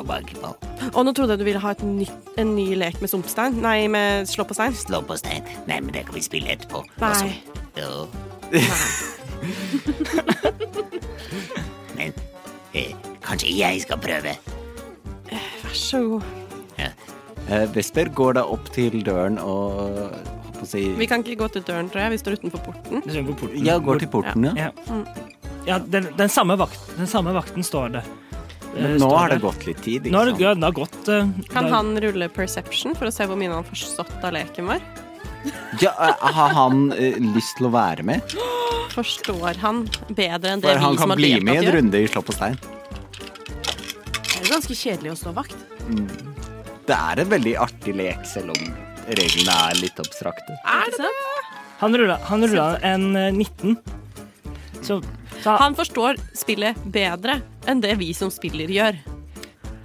[SPEAKER 6] Og banke på.
[SPEAKER 5] Og nå trodde jeg du ville ha et ny, en ny lek med sumpstein. Nei, med slå på stein.
[SPEAKER 6] Slå på stein. Nei, men det kan vi spille etterpå.
[SPEAKER 5] Nei.
[SPEAKER 6] Og så- Jo. men eh, kanskje jeg skal prøve.
[SPEAKER 5] Vær så god.
[SPEAKER 6] Ja.
[SPEAKER 8] Eh, Vesper går da opp til døren og holdt på å si
[SPEAKER 5] Vi kan ikke gå til døren, tror jeg. Vi står utenfor porten.
[SPEAKER 3] Det skjer på porten.
[SPEAKER 8] Ja, går til porten, ja.
[SPEAKER 3] Ja,
[SPEAKER 5] Mm.
[SPEAKER 3] ja den, den, samme vakten, den samme vakten står det.
[SPEAKER 8] Men
[SPEAKER 3] Eh,
[SPEAKER 8] nå
[SPEAKER 3] står
[SPEAKER 8] har det
[SPEAKER 3] der.
[SPEAKER 8] gått litt tid,
[SPEAKER 3] Nå
[SPEAKER 8] ikke
[SPEAKER 3] har det,
[SPEAKER 8] sant?
[SPEAKER 3] ja, den har gått. eh,
[SPEAKER 5] Kan
[SPEAKER 3] da-
[SPEAKER 5] han rulle perception for å se hvor mye han har forstått av leken vår?
[SPEAKER 8] Ja, eh, har han eh, lyst til å være med?
[SPEAKER 5] Forstår han bedre enn det
[SPEAKER 8] For han
[SPEAKER 5] vi som
[SPEAKER 8] kan
[SPEAKER 5] har
[SPEAKER 8] bli med i
[SPEAKER 5] deltatt
[SPEAKER 8] en
[SPEAKER 5] gjør?
[SPEAKER 8] runde i Slå på stein.
[SPEAKER 4] Det er jo ganske kjedelig å stå vakt.
[SPEAKER 8] Det er en veldig artig lek, selv om reglene er litt abstrakte.
[SPEAKER 4] Er det sant?
[SPEAKER 3] Han rulla, han rullet en eh, 19. Så, så han,
[SPEAKER 5] Han forstår spillet bedre enn det vi som spiller gjør.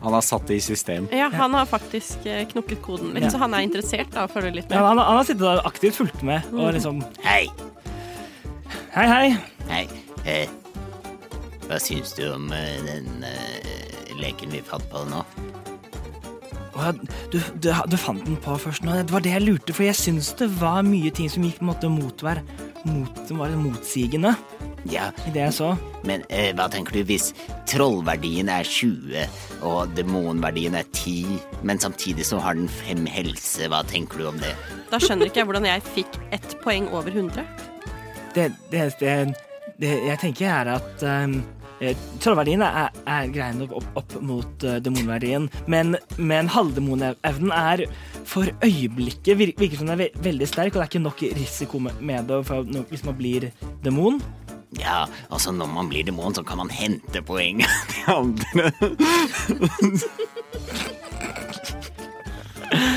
[SPEAKER 8] Han har satt det i system.
[SPEAKER 5] Ja, han har faktisk eh, knokket koden litt,
[SPEAKER 3] Ja.
[SPEAKER 5] så han er interessert da, og følger litt
[SPEAKER 3] ja,
[SPEAKER 5] med.
[SPEAKER 3] han, han har sittet og aktivt fulgt med
[SPEAKER 5] Mm.
[SPEAKER 3] og liksom
[SPEAKER 6] Hei.
[SPEAKER 3] Hei, hei.
[SPEAKER 6] Hei. Eh, hva syns du om eh, den eh, leken vi fant på nå?
[SPEAKER 3] Å, ja, Du, du, du fant den på først nå. Det var det jeg lurte, for jeg syns det var mye ting som gikk på en måte mot hver mot, som var litt motsigende
[SPEAKER 6] Ja,
[SPEAKER 3] i det jeg så.
[SPEAKER 6] Men eh, hva tenker du hvis trollverdien er 20 og demonverdien er 10, men samtidig så har den fem helse? Hva tenker du om det?
[SPEAKER 5] Da skjønner ikke jeg hvordan jeg fikk ett poeng over 100.
[SPEAKER 3] Det, det, det, det jeg tenker, er at um, trollverdien er, er greien opp, opp, opp mot eh, demonverdien, men, men halvdemonevnen er for øyeblikket vir- virker som den er ve veldig sterk, og det er ikke nok risiko med- med det for, når- hvis man blir demon.
[SPEAKER 6] Ja, altså når man blir demon, så kan man hente poeng.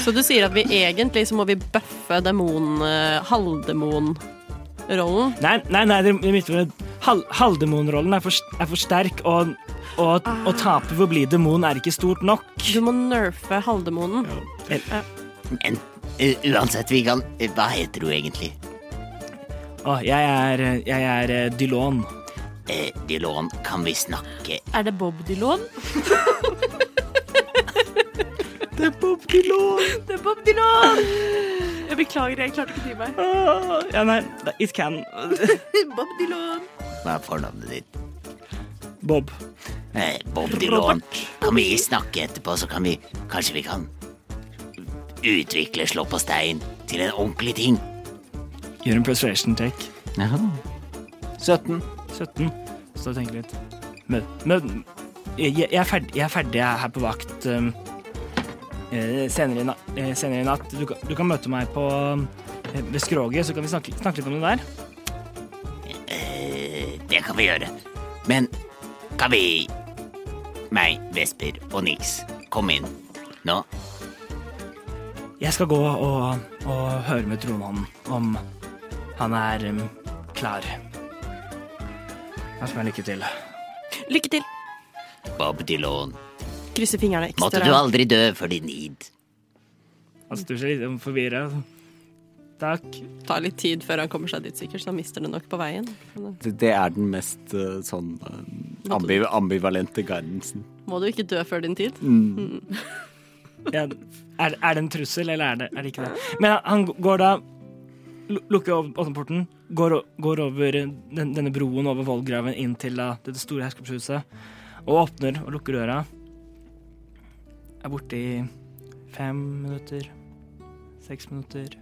[SPEAKER 5] Så du sier at vi egentlig så må vi bøffe demon, eh, halvdemon-rollen?
[SPEAKER 3] Nei, nei, nei det er mitt for hal halvdemonrollen er, for s- er for sterk, og og- å tape ved å bli demon er ikke stort nok.
[SPEAKER 5] Du må nerfe halvdemonen.
[SPEAKER 6] Men eh, uansett, vi kan eh, Hva heter du egentlig?
[SPEAKER 3] Å, jeg er, jeg er eh, Dylon.
[SPEAKER 6] Eh, Dylan, kan vi snakke?
[SPEAKER 4] Er det Bob Dylan?
[SPEAKER 8] Det er Bob Dylan!
[SPEAKER 4] Det er Bob Dylan! Jeg beklager, jeg klarte ikke å dy meg.
[SPEAKER 3] Å, Ja, nei, it can.
[SPEAKER 4] Bob Dylan.
[SPEAKER 6] Hva er fornavnet ditt?
[SPEAKER 3] Bob.
[SPEAKER 6] Eh, Bob Dylan. Kan vi snakke etterpå, så kan vi Kanskje vi kan utvikle Slå på stein til en ordentlig ting?
[SPEAKER 3] Gjør en persuasion take.
[SPEAKER 8] Ja. 17.
[SPEAKER 3] 17. Så tenk litt. Men, men jeg, jeg, er ferdig, jeg er ferdig her på vakt um, eh, senere, i na- eh, senere i natt. Du, kan- du kan møte meg på eh, ved skroget, så kan vi snakke, snakke litt om det der.
[SPEAKER 6] Eh, det kan vi gjøre. Men skal vi Meg, Vesper og Nix. Kom inn. Nå.
[SPEAKER 3] Jeg skal gå og, og høre med tronmannen om han er um, klar. Da skal jeg lykke til.
[SPEAKER 5] Lykke til.
[SPEAKER 6] Bob Dylan.
[SPEAKER 5] Krysser fingrene
[SPEAKER 6] Måtte
[SPEAKER 5] ekstra.
[SPEAKER 6] du aldri dø for din id.
[SPEAKER 3] Altså, du ser litt forvirra. Takk.
[SPEAKER 5] Det tar litt tid før han kommer seg dit, sikkert, så han mister det nok på veien.
[SPEAKER 7] Det, det er den mest eh, sånn eh, ambi ambivalente guidancen.
[SPEAKER 5] Må du ikke dø før din tid?
[SPEAKER 3] Ja, er, er det en trussel, eller er det, er det ikke det? Men han går da lu- Lukker opp åpner porten, går, o- går over den, denne broen over vollgraven inn til da, det store herskapshuset, og åpner og lukker døra. Er borte i fem minutter, seks minutter,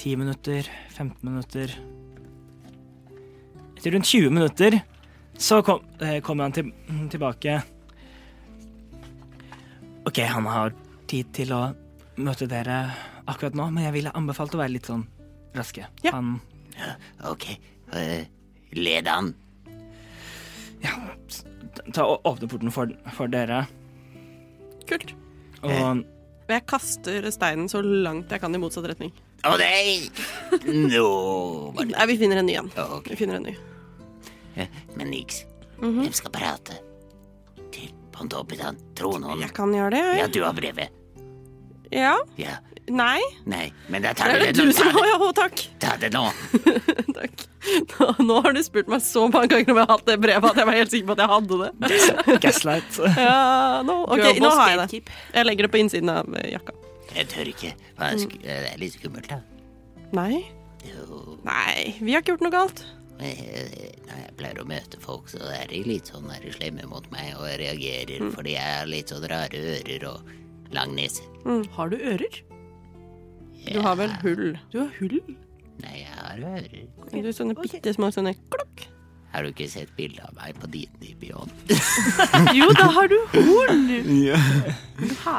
[SPEAKER 3] ti minutter, 15 minutter. Etter rundt 20 minutter så kom- eh, kommer han til, tilbake. Ok, han har tid til å møte dere akkurat nå, men jeg ville anbefalt å være litt sånn raske.
[SPEAKER 5] Ja.
[SPEAKER 3] Han
[SPEAKER 6] Ok. eh, Led han.
[SPEAKER 3] ta og åpne porten for, for dere,
[SPEAKER 5] Kult.
[SPEAKER 3] og
[SPEAKER 5] Og jeg kaster steinen så langt jeg kan i motsatt retning.
[SPEAKER 6] Å nei! Nå var det
[SPEAKER 5] Nei, vi finner en ny en.
[SPEAKER 6] Ok.
[SPEAKER 5] Vi finner en ny.
[SPEAKER 6] Eh, Men Nix,
[SPEAKER 5] Mhm.
[SPEAKER 6] hvem skal prate til Pontoppidan? Tronhånden?
[SPEAKER 5] Jeg kan gjøre det,
[SPEAKER 6] Ja,
[SPEAKER 5] jeg.
[SPEAKER 6] du har brevet.
[SPEAKER 5] Ja.
[SPEAKER 6] Ja.
[SPEAKER 5] Nei.
[SPEAKER 6] Nei, men da tar
[SPEAKER 5] Er
[SPEAKER 6] du
[SPEAKER 5] det
[SPEAKER 6] det
[SPEAKER 5] du
[SPEAKER 6] nå.
[SPEAKER 5] som
[SPEAKER 6] Ta
[SPEAKER 5] har
[SPEAKER 6] det,
[SPEAKER 5] Ja, å, takk.
[SPEAKER 6] ta det nå.
[SPEAKER 5] Takk. Nå, nå har du spurt meg så mange ganger om jeg har hatt det brevet at jeg var helt sikker på at jeg hadde det.
[SPEAKER 3] gaslight.
[SPEAKER 5] Ja, nå, ok,
[SPEAKER 4] Girl
[SPEAKER 5] nå
[SPEAKER 4] boss
[SPEAKER 5] har jeg det.
[SPEAKER 4] gatekeep.
[SPEAKER 5] Jeg legger det på innsiden av eh, jakka.
[SPEAKER 6] Jeg tør ikke. Hva
[SPEAKER 5] Mm.
[SPEAKER 6] er sk- eh, Det er litt skummelt, da.
[SPEAKER 5] Nei.
[SPEAKER 6] Jo,
[SPEAKER 5] Nei, vi har ikke gjort noe galt.
[SPEAKER 6] eh, Når jeg pleier å møte folk, så er de litt sånn er de slemme mot meg og jeg reagerer
[SPEAKER 5] Mm.
[SPEAKER 6] fordi jeg har litt sånn rare ører og lang nese.
[SPEAKER 4] Har du ører?
[SPEAKER 5] Du har vel hull.
[SPEAKER 4] Du har hull.
[SPEAKER 6] Nei, jeg har ører.
[SPEAKER 5] Du er sånne bitte små sånne klokk.
[SPEAKER 6] Har du ikke sett bilde av meg på din i Beyond?
[SPEAKER 4] Jo, da har du horn!
[SPEAKER 5] Ja,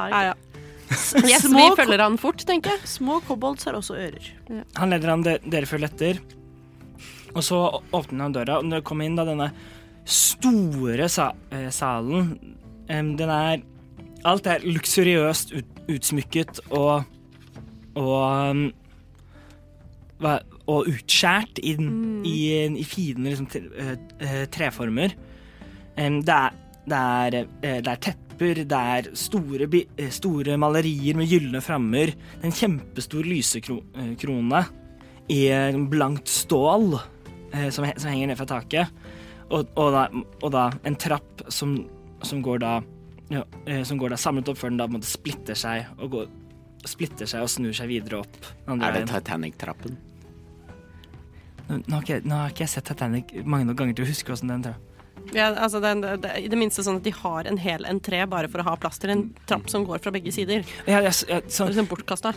[SPEAKER 5] ja. Yes, vi
[SPEAKER 4] Små,
[SPEAKER 5] følger han fort, tenker jeg.
[SPEAKER 4] små kobolds har også ører.
[SPEAKER 3] Han leder han de, dere følger etter. Og så å- åpner han døra, og når dere kommer inn da denne store sa, eh, salen em, Den er Alt er luksuriøst ut, utsmykket og Og em, hva, og utskjært i, den- i, i fine liksom, tre, eh, eh, treformer. Em, det, er, det, er, eh, det er tepper, det er store, bi- eh, store malerier med gylne frammer. Det er En kjempestor lysekrone i eh, blankt stål eh, som, he- som henger ned fra taket. Og, og, da, og da en trapp som, som går da ja, eh, som går da samlet opp før den da på en måte splitter seg og går, splitter seg og snur seg videre opp. den andre
[SPEAKER 7] Er det
[SPEAKER 3] veien.
[SPEAKER 7] Titanic-trappen?
[SPEAKER 3] Nå, nå, har ikke, jeg- nå har ikke jeg sett Titanic mange nok ganger til å huske hvordan den tror jeg.
[SPEAKER 5] Ja, altså, det, er- det, er I det minste sånn at de har en hel entré bare for å ha plass til en trapp som går fra begge sider. Det
[SPEAKER 3] Ja, ja, så- ja,
[SPEAKER 5] er
[SPEAKER 3] sånn-
[SPEAKER 5] liksom bortkasta.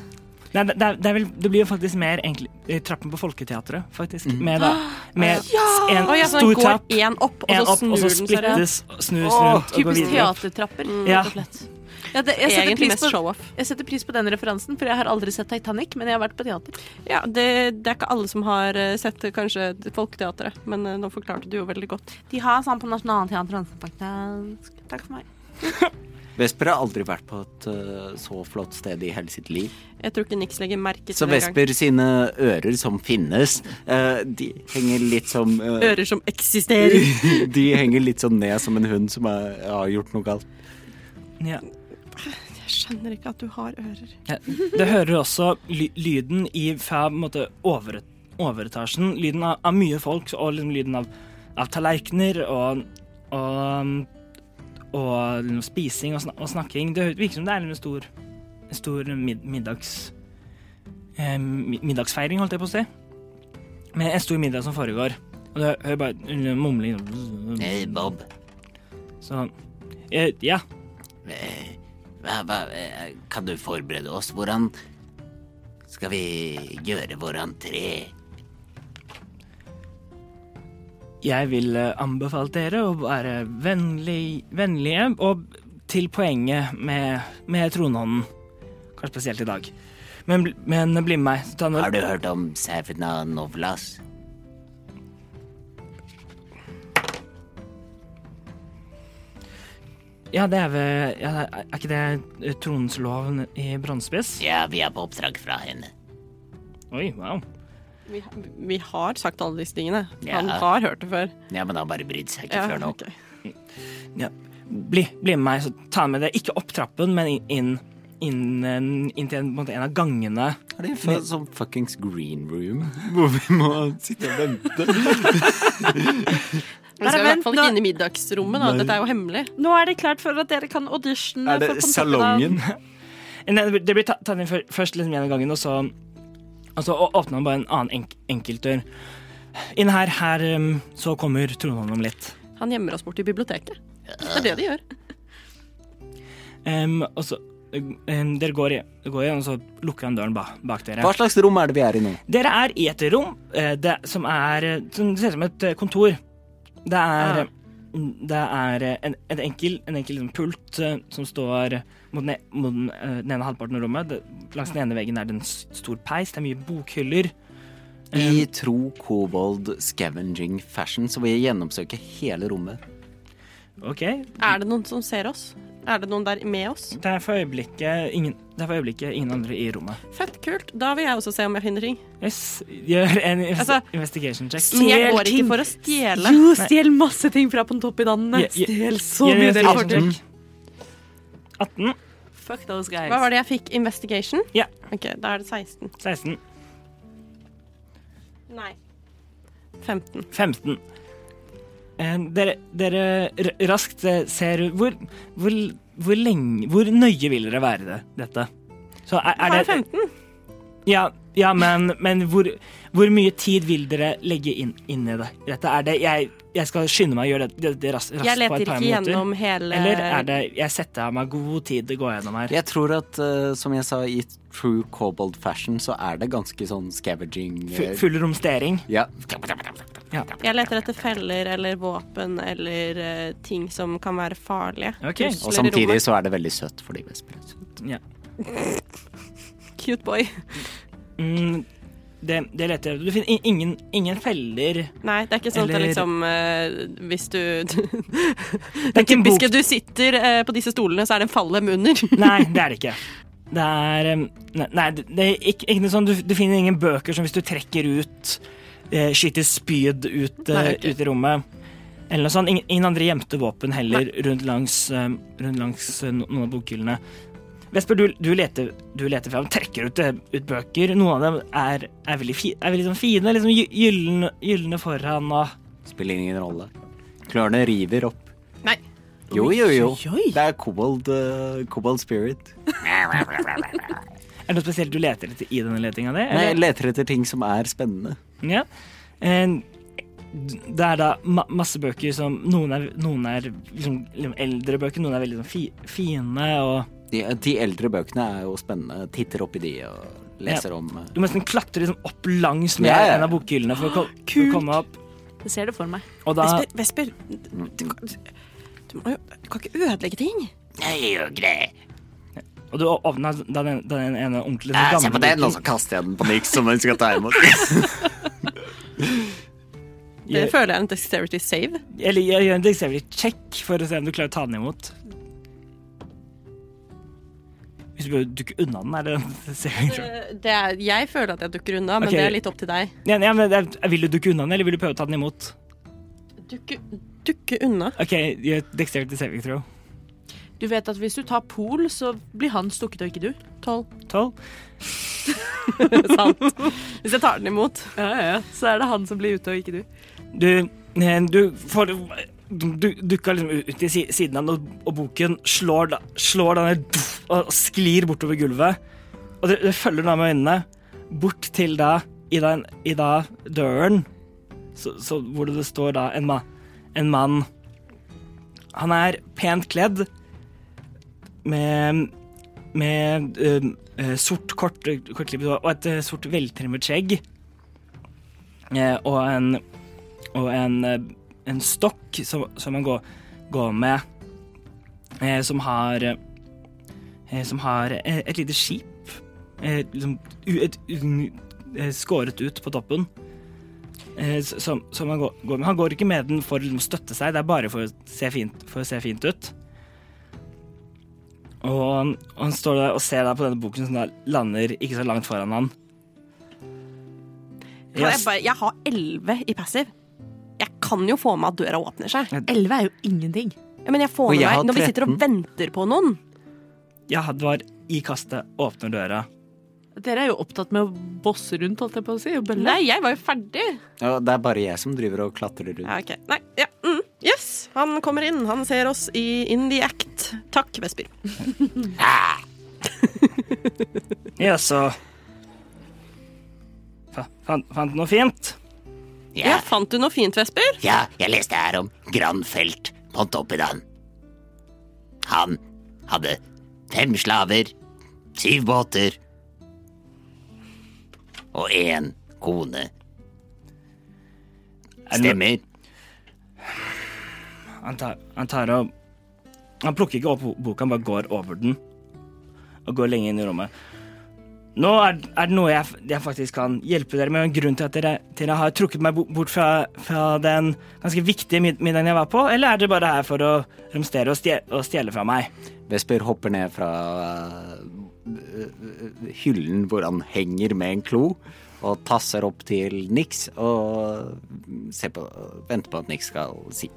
[SPEAKER 3] Nei, det, det, er- det, er vel, det blir jo faktisk mer egentlig, eh, trappen på Folketeatret, faktisk. Med, da, med s- en
[SPEAKER 5] Å Ah, ja, så
[SPEAKER 3] stor
[SPEAKER 5] den går
[SPEAKER 3] trapp,
[SPEAKER 5] én opp, og
[SPEAKER 3] en
[SPEAKER 5] så
[SPEAKER 3] opp, og så
[SPEAKER 5] snur den seg rundt.
[SPEAKER 3] splittes, snus rundt og går
[SPEAKER 4] Typisk
[SPEAKER 3] videre. opp.
[SPEAKER 4] teatertrapper.
[SPEAKER 3] Ja.
[SPEAKER 4] rett og slett. Mm. Ja, det, jeg, setter
[SPEAKER 5] Egentlig
[SPEAKER 4] pris
[SPEAKER 5] mest
[SPEAKER 4] på,
[SPEAKER 5] show-off.
[SPEAKER 4] jeg setter pris på den referansen, for jeg har aldri sett Titanic, men jeg har vært på teater.
[SPEAKER 5] Ja, det, det er ikke alle som har eh, sett eh, kanskje Folketeatret, men eh, nå forklarte du jo veldig godt.
[SPEAKER 4] De har sånn på Nationaltheatret. Takk for meg.
[SPEAKER 7] Vesper har aldri vært på et eh, så flott sted i hele sitt liv.
[SPEAKER 5] Jeg tror ikke Nix legger merke til
[SPEAKER 7] Så
[SPEAKER 5] det engang.
[SPEAKER 7] Vesper sine ører som finnes, eh, de henger litt som eh,
[SPEAKER 5] Ører som eksisterer.
[SPEAKER 7] De henger litt sånn ned som en hund som er, har gjort noe galt.
[SPEAKER 3] Ja.
[SPEAKER 5] Jeg skjønner ikke at du har ører.
[SPEAKER 3] Ja. Det hører også ly lyden i, fra på en måte, over, overetasjen. Lyden av, av mye folk, og liksom, lyden av, av tallerkener og, og, og liksom, spising og, snak og snakking. Det hø- virker som det er en stor, en stor mid middags, eh, mi- middagsfeiring, holdt jeg på å si. Med en stor middag som foregår. Og det hører bare liksom, mumling
[SPEAKER 6] Eh, Bob,
[SPEAKER 3] Så eh, Ja.
[SPEAKER 6] eh, hva, hva, eh, kan du forberede oss? Hvordan skal vi gjøre vår entré?
[SPEAKER 3] Jeg vil eh, anbefale dere å være vennlig, vennlige og til poenget med, med tronhånden. Kanskje spesielt i dag. Men, bl- men bli med meg. Ta en
[SPEAKER 6] Har du hørt om Savna Novlas?
[SPEAKER 3] Ja, det er ved ja, Er ikke det eh, tronens lov i Brannspiss?
[SPEAKER 6] Ja, vi er på oppdrag fra henne.
[SPEAKER 3] Oi, wow.
[SPEAKER 5] Vi, vi har sagt alle disse tingene. Han
[SPEAKER 6] Ja.
[SPEAKER 5] har hørt det før.
[SPEAKER 6] Ja, men han bare brydde seg ikke
[SPEAKER 5] Ja,
[SPEAKER 6] før nå.
[SPEAKER 5] ok.
[SPEAKER 3] Ja. Bli, bli med meg, så ta med deg ikke opp trappen, men in- inn inn, eh, inn til en, på en måte en av gangene.
[SPEAKER 7] Er det en fa- sånn fuckings green room hvor vi må sitte og vente?
[SPEAKER 5] Vi skal i
[SPEAKER 4] vent
[SPEAKER 5] hvert fall
[SPEAKER 4] nå.
[SPEAKER 5] ikke inn i middagsrommet, da.
[SPEAKER 7] Nei.
[SPEAKER 5] Dette er jo hemmelig.
[SPEAKER 4] Nå er det klart for at dere kan audition.
[SPEAKER 7] Er det salongen?
[SPEAKER 3] Nei, det blir- det blir ta- tatt inn før- først liksom gjennom gangen, og så, og så å- åpner man bare en annen enk, enkeltdør. Inn her, her em, så kommer tronen om litt.
[SPEAKER 5] Han gjemmer oss bort i biblioteket. Det er det de gjør.
[SPEAKER 3] Em, Um, og så em, Dere går, i- går igjen, og så lukker han døren ba, bak dere.
[SPEAKER 7] Hva slags rom er det vi er i nå?
[SPEAKER 3] Dere er i et rom eh, det, som er eh, som ser ut som et eh, kontor. Det er,
[SPEAKER 7] Ah.
[SPEAKER 3] eh, det er eh, en, en enkel, en enkel liksom, pult eh, som står mot, den e- mot den, eh, den ene halvparten av rommet. Det, langs den ene veggen er det en s- stor peis, det er mye bokhyller.
[SPEAKER 5] Eh,
[SPEAKER 7] I tro kobold scavenging fashion så vil jeg gjennomsøke hele rommet.
[SPEAKER 3] OK.
[SPEAKER 5] Er det noen som ser oss? Er det noen der med oss?
[SPEAKER 3] Det er for øyeblikket ingen, det er for øyeblikket ingen andre i rommet.
[SPEAKER 5] Fett kult. Da vil jeg også se om jeg finner ting.
[SPEAKER 3] Yes, gjør en invest
[SPEAKER 5] Altså,
[SPEAKER 3] investigation check.
[SPEAKER 5] Men jeg går
[SPEAKER 4] ting.
[SPEAKER 5] ikke for å stjele.
[SPEAKER 4] Jo, stjel masse ting fra Pontoppidanene.
[SPEAKER 3] Ja, liksom- ja,
[SPEAKER 4] Stjel så
[SPEAKER 3] gjør en
[SPEAKER 4] mye dere får til.
[SPEAKER 3] investigation check. 18,
[SPEAKER 4] Fuck those guys.
[SPEAKER 5] Hva var det jeg fikk? Investigation?
[SPEAKER 3] Ja.
[SPEAKER 5] Ok, da er det 16.
[SPEAKER 3] 16,
[SPEAKER 5] Nei. 15.
[SPEAKER 3] 15. Eh, Dere, dere r- raskt eh, ser hvor, hvor, hvor lenge Hvor nøye vil dere være det, dette? Så er,
[SPEAKER 5] Er
[SPEAKER 3] er
[SPEAKER 5] det
[SPEAKER 3] det
[SPEAKER 5] 15?
[SPEAKER 3] Ja, ja men, men hvor, hvor mye tid vil dere legge inn, inn i det? Dette er det jeg, jeg skal skynde meg å gjøre det, det, det ras- raskt
[SPEAKER 5] Jeg
[SPEAKER 3] på
[SPEAKER 5] leter
[SPEAKER 3] et
[SPEAKER 5] ikke
[SPEAKER 3] par minutter.
[SPEAKER 5] gjennom hele
[SPEAKER 3] Eller er det Jeg setter av meg god tid til å gå gjennom her.
[SPEAKER 7] Jeg tror at, eh, som jeg sa, i true kobold fashion så er det ganske sånn scavenging eh,
[SPEAKER 3] Fu- Full romstering.
[SPEAKER 7] Ja.
[SPEAKER 5] Jeg leter etter feller eller våpen eller eh, ting som kan være farlige.
[SPEAKER 3] Ok.
[SPEAKER 5] Trusler
[SPEAKER 7] Og
[SPEAKER 5] i
[SPEAKER 7] samtidig
[SPEAKER 5] rommet.
[SPEAKER 7] så er det veldig søtt for de vesper.
[SPEAKER 3] Ja.
[SPEAKER 5] Cute boy.
[SPEAKER 3] Mm, det, det leter Du finner in- ingen, ingen feller.
[SPEAKER 5] Nei, det er ikke sånn at
[SPEAKER 3] Eller-
[SPEAKER 5] det liksom eh, Hvis du Det
[SPEAKER 3] Det er ikke en bok
[SPEAKER 5] typiske du sitter eh, på disse stolene, så er det en fallem under.
[SPEAKER 3] Nei, det er det ikke. Det er um, Nei, nei, det det er ikke, ikke noe sånn du, du finner ingen bøker som hvis du trekker ut eh, Skyter spyd ut, eh,
[SPEAKER 5] Nei, ok.
[SPEAKER 3] ut i rommet. Eller noe sånt. Ingen, ingen andre gjemte våpen heller rundt langs, um, rundt langs eh, no- noen av bokhyllene. Vesper, du, du, leter, du leter frem, trekker ut, eh, ut bøker. Noen av dem er, er veldig, fi, er veldig sånn fine. Liksom gy- gylne, gylne foran og
[SPEAKER 7] Spiller ingen rolle. Klørne river opp.
[SPEAKER 5] Nei.
[SPEAKER 7] Jo, jo, jo.
[SPEAKER 4] Oi, oi.
[SPEAKER 7] Det er kobold, eh, kobold spirit.
[SPEAKER 3] Er det noe spesielt du leter etter i denne letinga di?
[SPEAKER 7] Nei, jeg leter etter ting som er spennende.
[SPEAKER 3] Ja. En- Det er da ma masse bøker som Noen er, noen er liksom, liksom eldre bøker, noen er veldig sånn fi fine og
[SPEAKER 7] De, de eldre bøkene er jo spennende. Titter oppi de og leser om eh,
[SPEAKER 3] Du må nesten klatre liksom opp langs med
[SPEAKER 7] Ja, ja.
[SPEAKER 3] en av bokhyllene for å, ko- for å komme opp.
[SPEAKER 4] Jeg ser det for meg.
[SPEAKER 3] Og da
[SPEAKER 5] Vesper, Vesper du, kan- du, må jo, du kan ikke ødelegge ting.
[SPEAKER 6] Nei, jeg gjør ikke det.
[SPEAKER 3] og du åpna da den, da den ene ordentlig den
[SPEAKER 6] Ja,
[SPEAKER 3] gamle
[SPEAKER 6] Ah, se på den,
[SPEAKER 3] boken.
[SPEAKER 6] altså. og så kaster jeg den på Nix, som hun skal ta imot.
[SPEAKER 5] Det
[SPEAKER 3] Gjør-
[SPEAKER 5] føler jeg er en dexterity save.
[SPEAKER 3] Eller gjør- gjør en dexterity check for å se om du klarer å ta den imot. Hvis du bør dukke unna den, er det ser-
[SPEAKER 5] Eh, Det er, jeg føler at jeg dukker unna, men
[SPEAKER 3] Ok.
[SPEAKER 5] det er litt opp til deg.
[SPEAKER 3] ja, ja, men det er- Vil du dukke unna den, eller vil du prøve å ta den imot?
[SPEAKER 5] Dukke, dukke unna?
[SPEAKER 3] OK, gjør dexterity saving throw.
[SPEAKER 4] Du vet at hvis du tar Pol, så blir han stukket, og ikke du.
[SPEAKER 5] Tolv.
[SPEAKER 3] 12.
[SPEAKER 5] Sant. Hvis jeg tar den imot.
[SPEAKER 4] Ja, ja, ja. Så er det han som blir ute, og ikke du.
[SPEAKER 3] Du, eh, du får du du- dukka liksom ut i si- siden av den, og- og boken slår, da- slår den her, pff, og sklir bortover gulvet. Og det, det følger da med øynene bort til da i da, i da døren, så, så, hvor det står da en, ma, en mann. Han er pent kledd med med eh, eh, sort kort, kortklippet hår og et eh, sort veltrimmet skjegg. Eh, og en og en, eh, en stokk som, som han går, går med, eh, som har eh, Som har eh, et lite skip eh, liksom, u- et, u- eh, skåret ut på toppen. eh, s- Som, som han går, går med. Han går ikke med den for å liksom, støtte seg, det er bare for å se fint, for å se fint ut. Og han, og han står der og ser der på denne boken som da lander ikke så langt foran han.
[SPEAKER 5] Kan
[SPEAKER 3] Yes.
[SPEAKER 5] Jeg, bare, jeg har elleve i passiv. Jeg kan jo få med at døra åpner seg.
[SPEAKER 4] Elleve er jo ingenting.
[SPEAKER 5] Ja, Men jeg får
[SPEAKER 7] Og
[SPEAKER 5] med
[SPEAKER 7] jeg har
[SPEAKER 5] meg når vi sitter og
[SPEAKER 7] 13.
[SPEAKER 5] venter på noen.
[SPEAKER 3] Ja, Hadvar i kastet åpner døra.
[SPEAKER 4] Dere er jo opptatt med å bosse rundt, holdt jeg på å si. Og bølle.
[SPEAKER 5] Nei, jeg var jo ferdig.
[SPEAKER 7] Ja, det er bare jeg som driver og klatrer rundt.
[SPEAKER 5] Ja, ok. Nei, ja. Mm. Yes, han kommer inn. Han ser oss i In the Act. Takk, Vesper.
[SPEAKER 3] Ja, så fa fant, fant noe fint.
[SPEAKER 5] Ja,
[SPEAKER 6] Ja,
[SPEAKER 5] fant du noe fint, Vesper?
[SPEAKER 6] ja, jeg leste her om Granfelt Pontoppidan. Han hadde fem slaver, syv båter og én kone.
[SPEAKER 3] det noe-
[SPEAKER 6] Stemmer.
[SPEAKER 3] Han tar, han tar og Han plukker ikke opp bo- boka, han bare går over den. Og går lenge inn i rommet. Nå er, er det noe jeg, f- jeg faktisk kan hjelpe dere med. og Grunnen til at dere, dere har trukket meg bo- bort fra, fra den ganske viktige mid middagen jeg var på, eller er dere bare her for å romstere og stje- og stjele fra meg?
[SPEAKER 7] Vesper hopper ned fra eh, hyllen hvor han henger med en klo, og tasser opp til Nix og ser på, venter på at Nix skal si.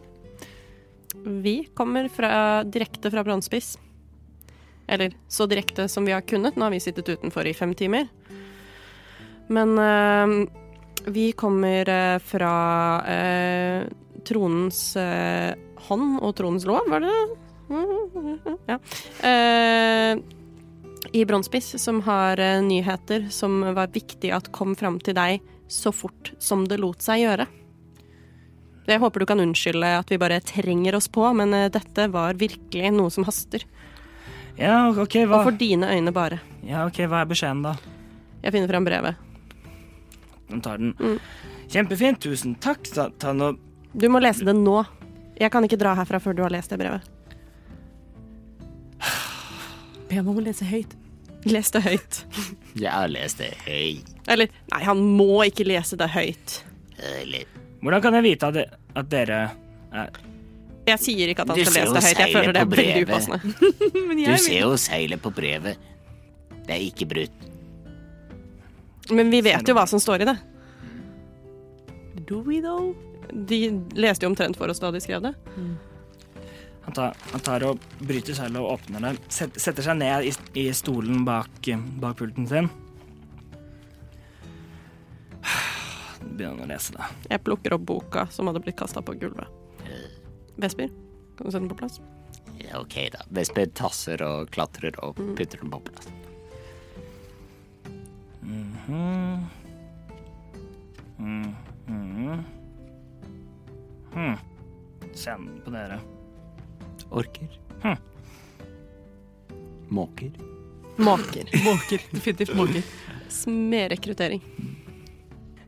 [SPEAKER 5] Vi kommer fra, direkte fra Brannspiss. Eller så direkte som vi har kunnet. Nå har vi sittet utenfor i fem timer. Men eh, vi kommer eh, fra eh, tronens eh, hånd og tronens lov, var det det? Ja. Eh, I Brannspiss, som har eh, nyheter som var viktig at kom fram til deg så fort som det lot seg gjøre. Jeg håper du kan unnskylde at vi bare trenger oss på, men eh, dette var virkelig noe som haster.
[SPEAKER 3] Ja, OK, hva,
[SPEAKER 5] Og for dine øyne bare.
[SPEAKER 3] ja, ok, hva er beskjeden, da?
[SPEAKER 5] Jeg finner fram brevet.
[SPEAKER 3] Han tar den. Kjempefint, tusen takk. Ta, ta nå
[SPEAKER 5] Du må lese det nå. Jeg kan ikke dra herfra før du har lest det brevet.
[SPEAKER 4] Be meg om å lese høyt.
[SPEAKER 5] Les det høyt.
[SPEAKER 6] Jeg har lest det høyt.
[SPEAKER 5] Eller nei, han må ikke lese det høyt.
[SPEAKER 6] Eller
[SPEAKER 3] Hvordan kan jeg vite at, det, at dere er
[SPEAKER 5] Jeg sier ikke at han
[SPEAKER 6] Du
[SPEAKER 5] skal
[SPEAKER 6] ser jo
[SPEAKER 5] lese det høyt. Jeg
[SPEAKER 6] seilet
[SPEAKER 5] føler det
[SPEAKER 6] på
[SPEAKER 5] er veldig
[SPEAKER 6] brevet.
[SPEAKER 5] upassende.
[SPEAKER 6] Du ser jo seilet på brevet. Det er ikke brutt.
[SPEAKER 5] Men vi vet jo hva som står i det.
[SPEAKER 4] Do we though?
[SPEAKER 5] De leste jo omtrent for oss da de skrev det.
[SPEAKER 3] Han tar, han tar og bryter seilet og åpner det. Set, setter seg ned i, i stolen bak, bak pulten sin. Begynner han å lese det.
[SPEAKER 5] Jeg plukker opp boka som hadde blitt kasta på gulvet. Vesper, kan du sette den på plass?
[SPEAKER 6] Ja, OK, da.
[SPEAKER 7] Vesper tasser og klatrer og
[SPEAKER 4] Mm.
[SPEAKER 7] putter den på plass.
[SPEAKER 3] Send den på dere.
[SPEAKER 7] Orker.
[SPEAKER 3] Hm.
[SPEAKER 7] Måker.
[SPEAKER 5] Måker.
[SPEAKER 4] Måker. Definitivt måker.
[SPEAKER 5] Smedrekruttering.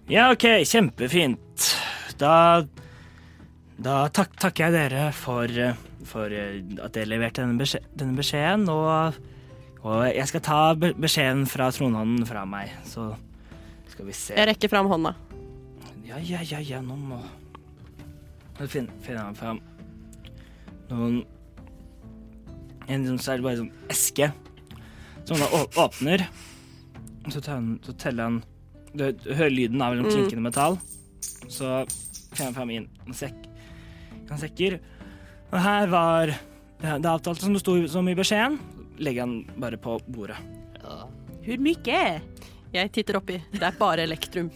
[SPEAKER 3] Ja, OK, kjempefint. Da Da tak, takker jeg dere for, eh, for eh, at dere leverte denne, beskje, denne beskjeden, og, og jeg skal ta be- beskjeden fra tronhånden fra meg, så skal vi se
[SPEAKER 5] Jeg rekker fram hånda.
[SPEAKER 3] Ja, ja, ja, ja, nå må Nå fin- finner han fram noen En sånn særlig bare sånn eske som han da å- åpner. Så, tar han, så teller han Du, du hører lyden av liksom klinkende metall. Så finner han fram i en en sekk. Han sekker. Og her var det, det avtalte som det sto som i beskjeden. Legger han bare på bordet.
[SPEAKER 4] Hvor mye?
[SPEAKER 5] Jeg titter oppi. Det er bare elektrum.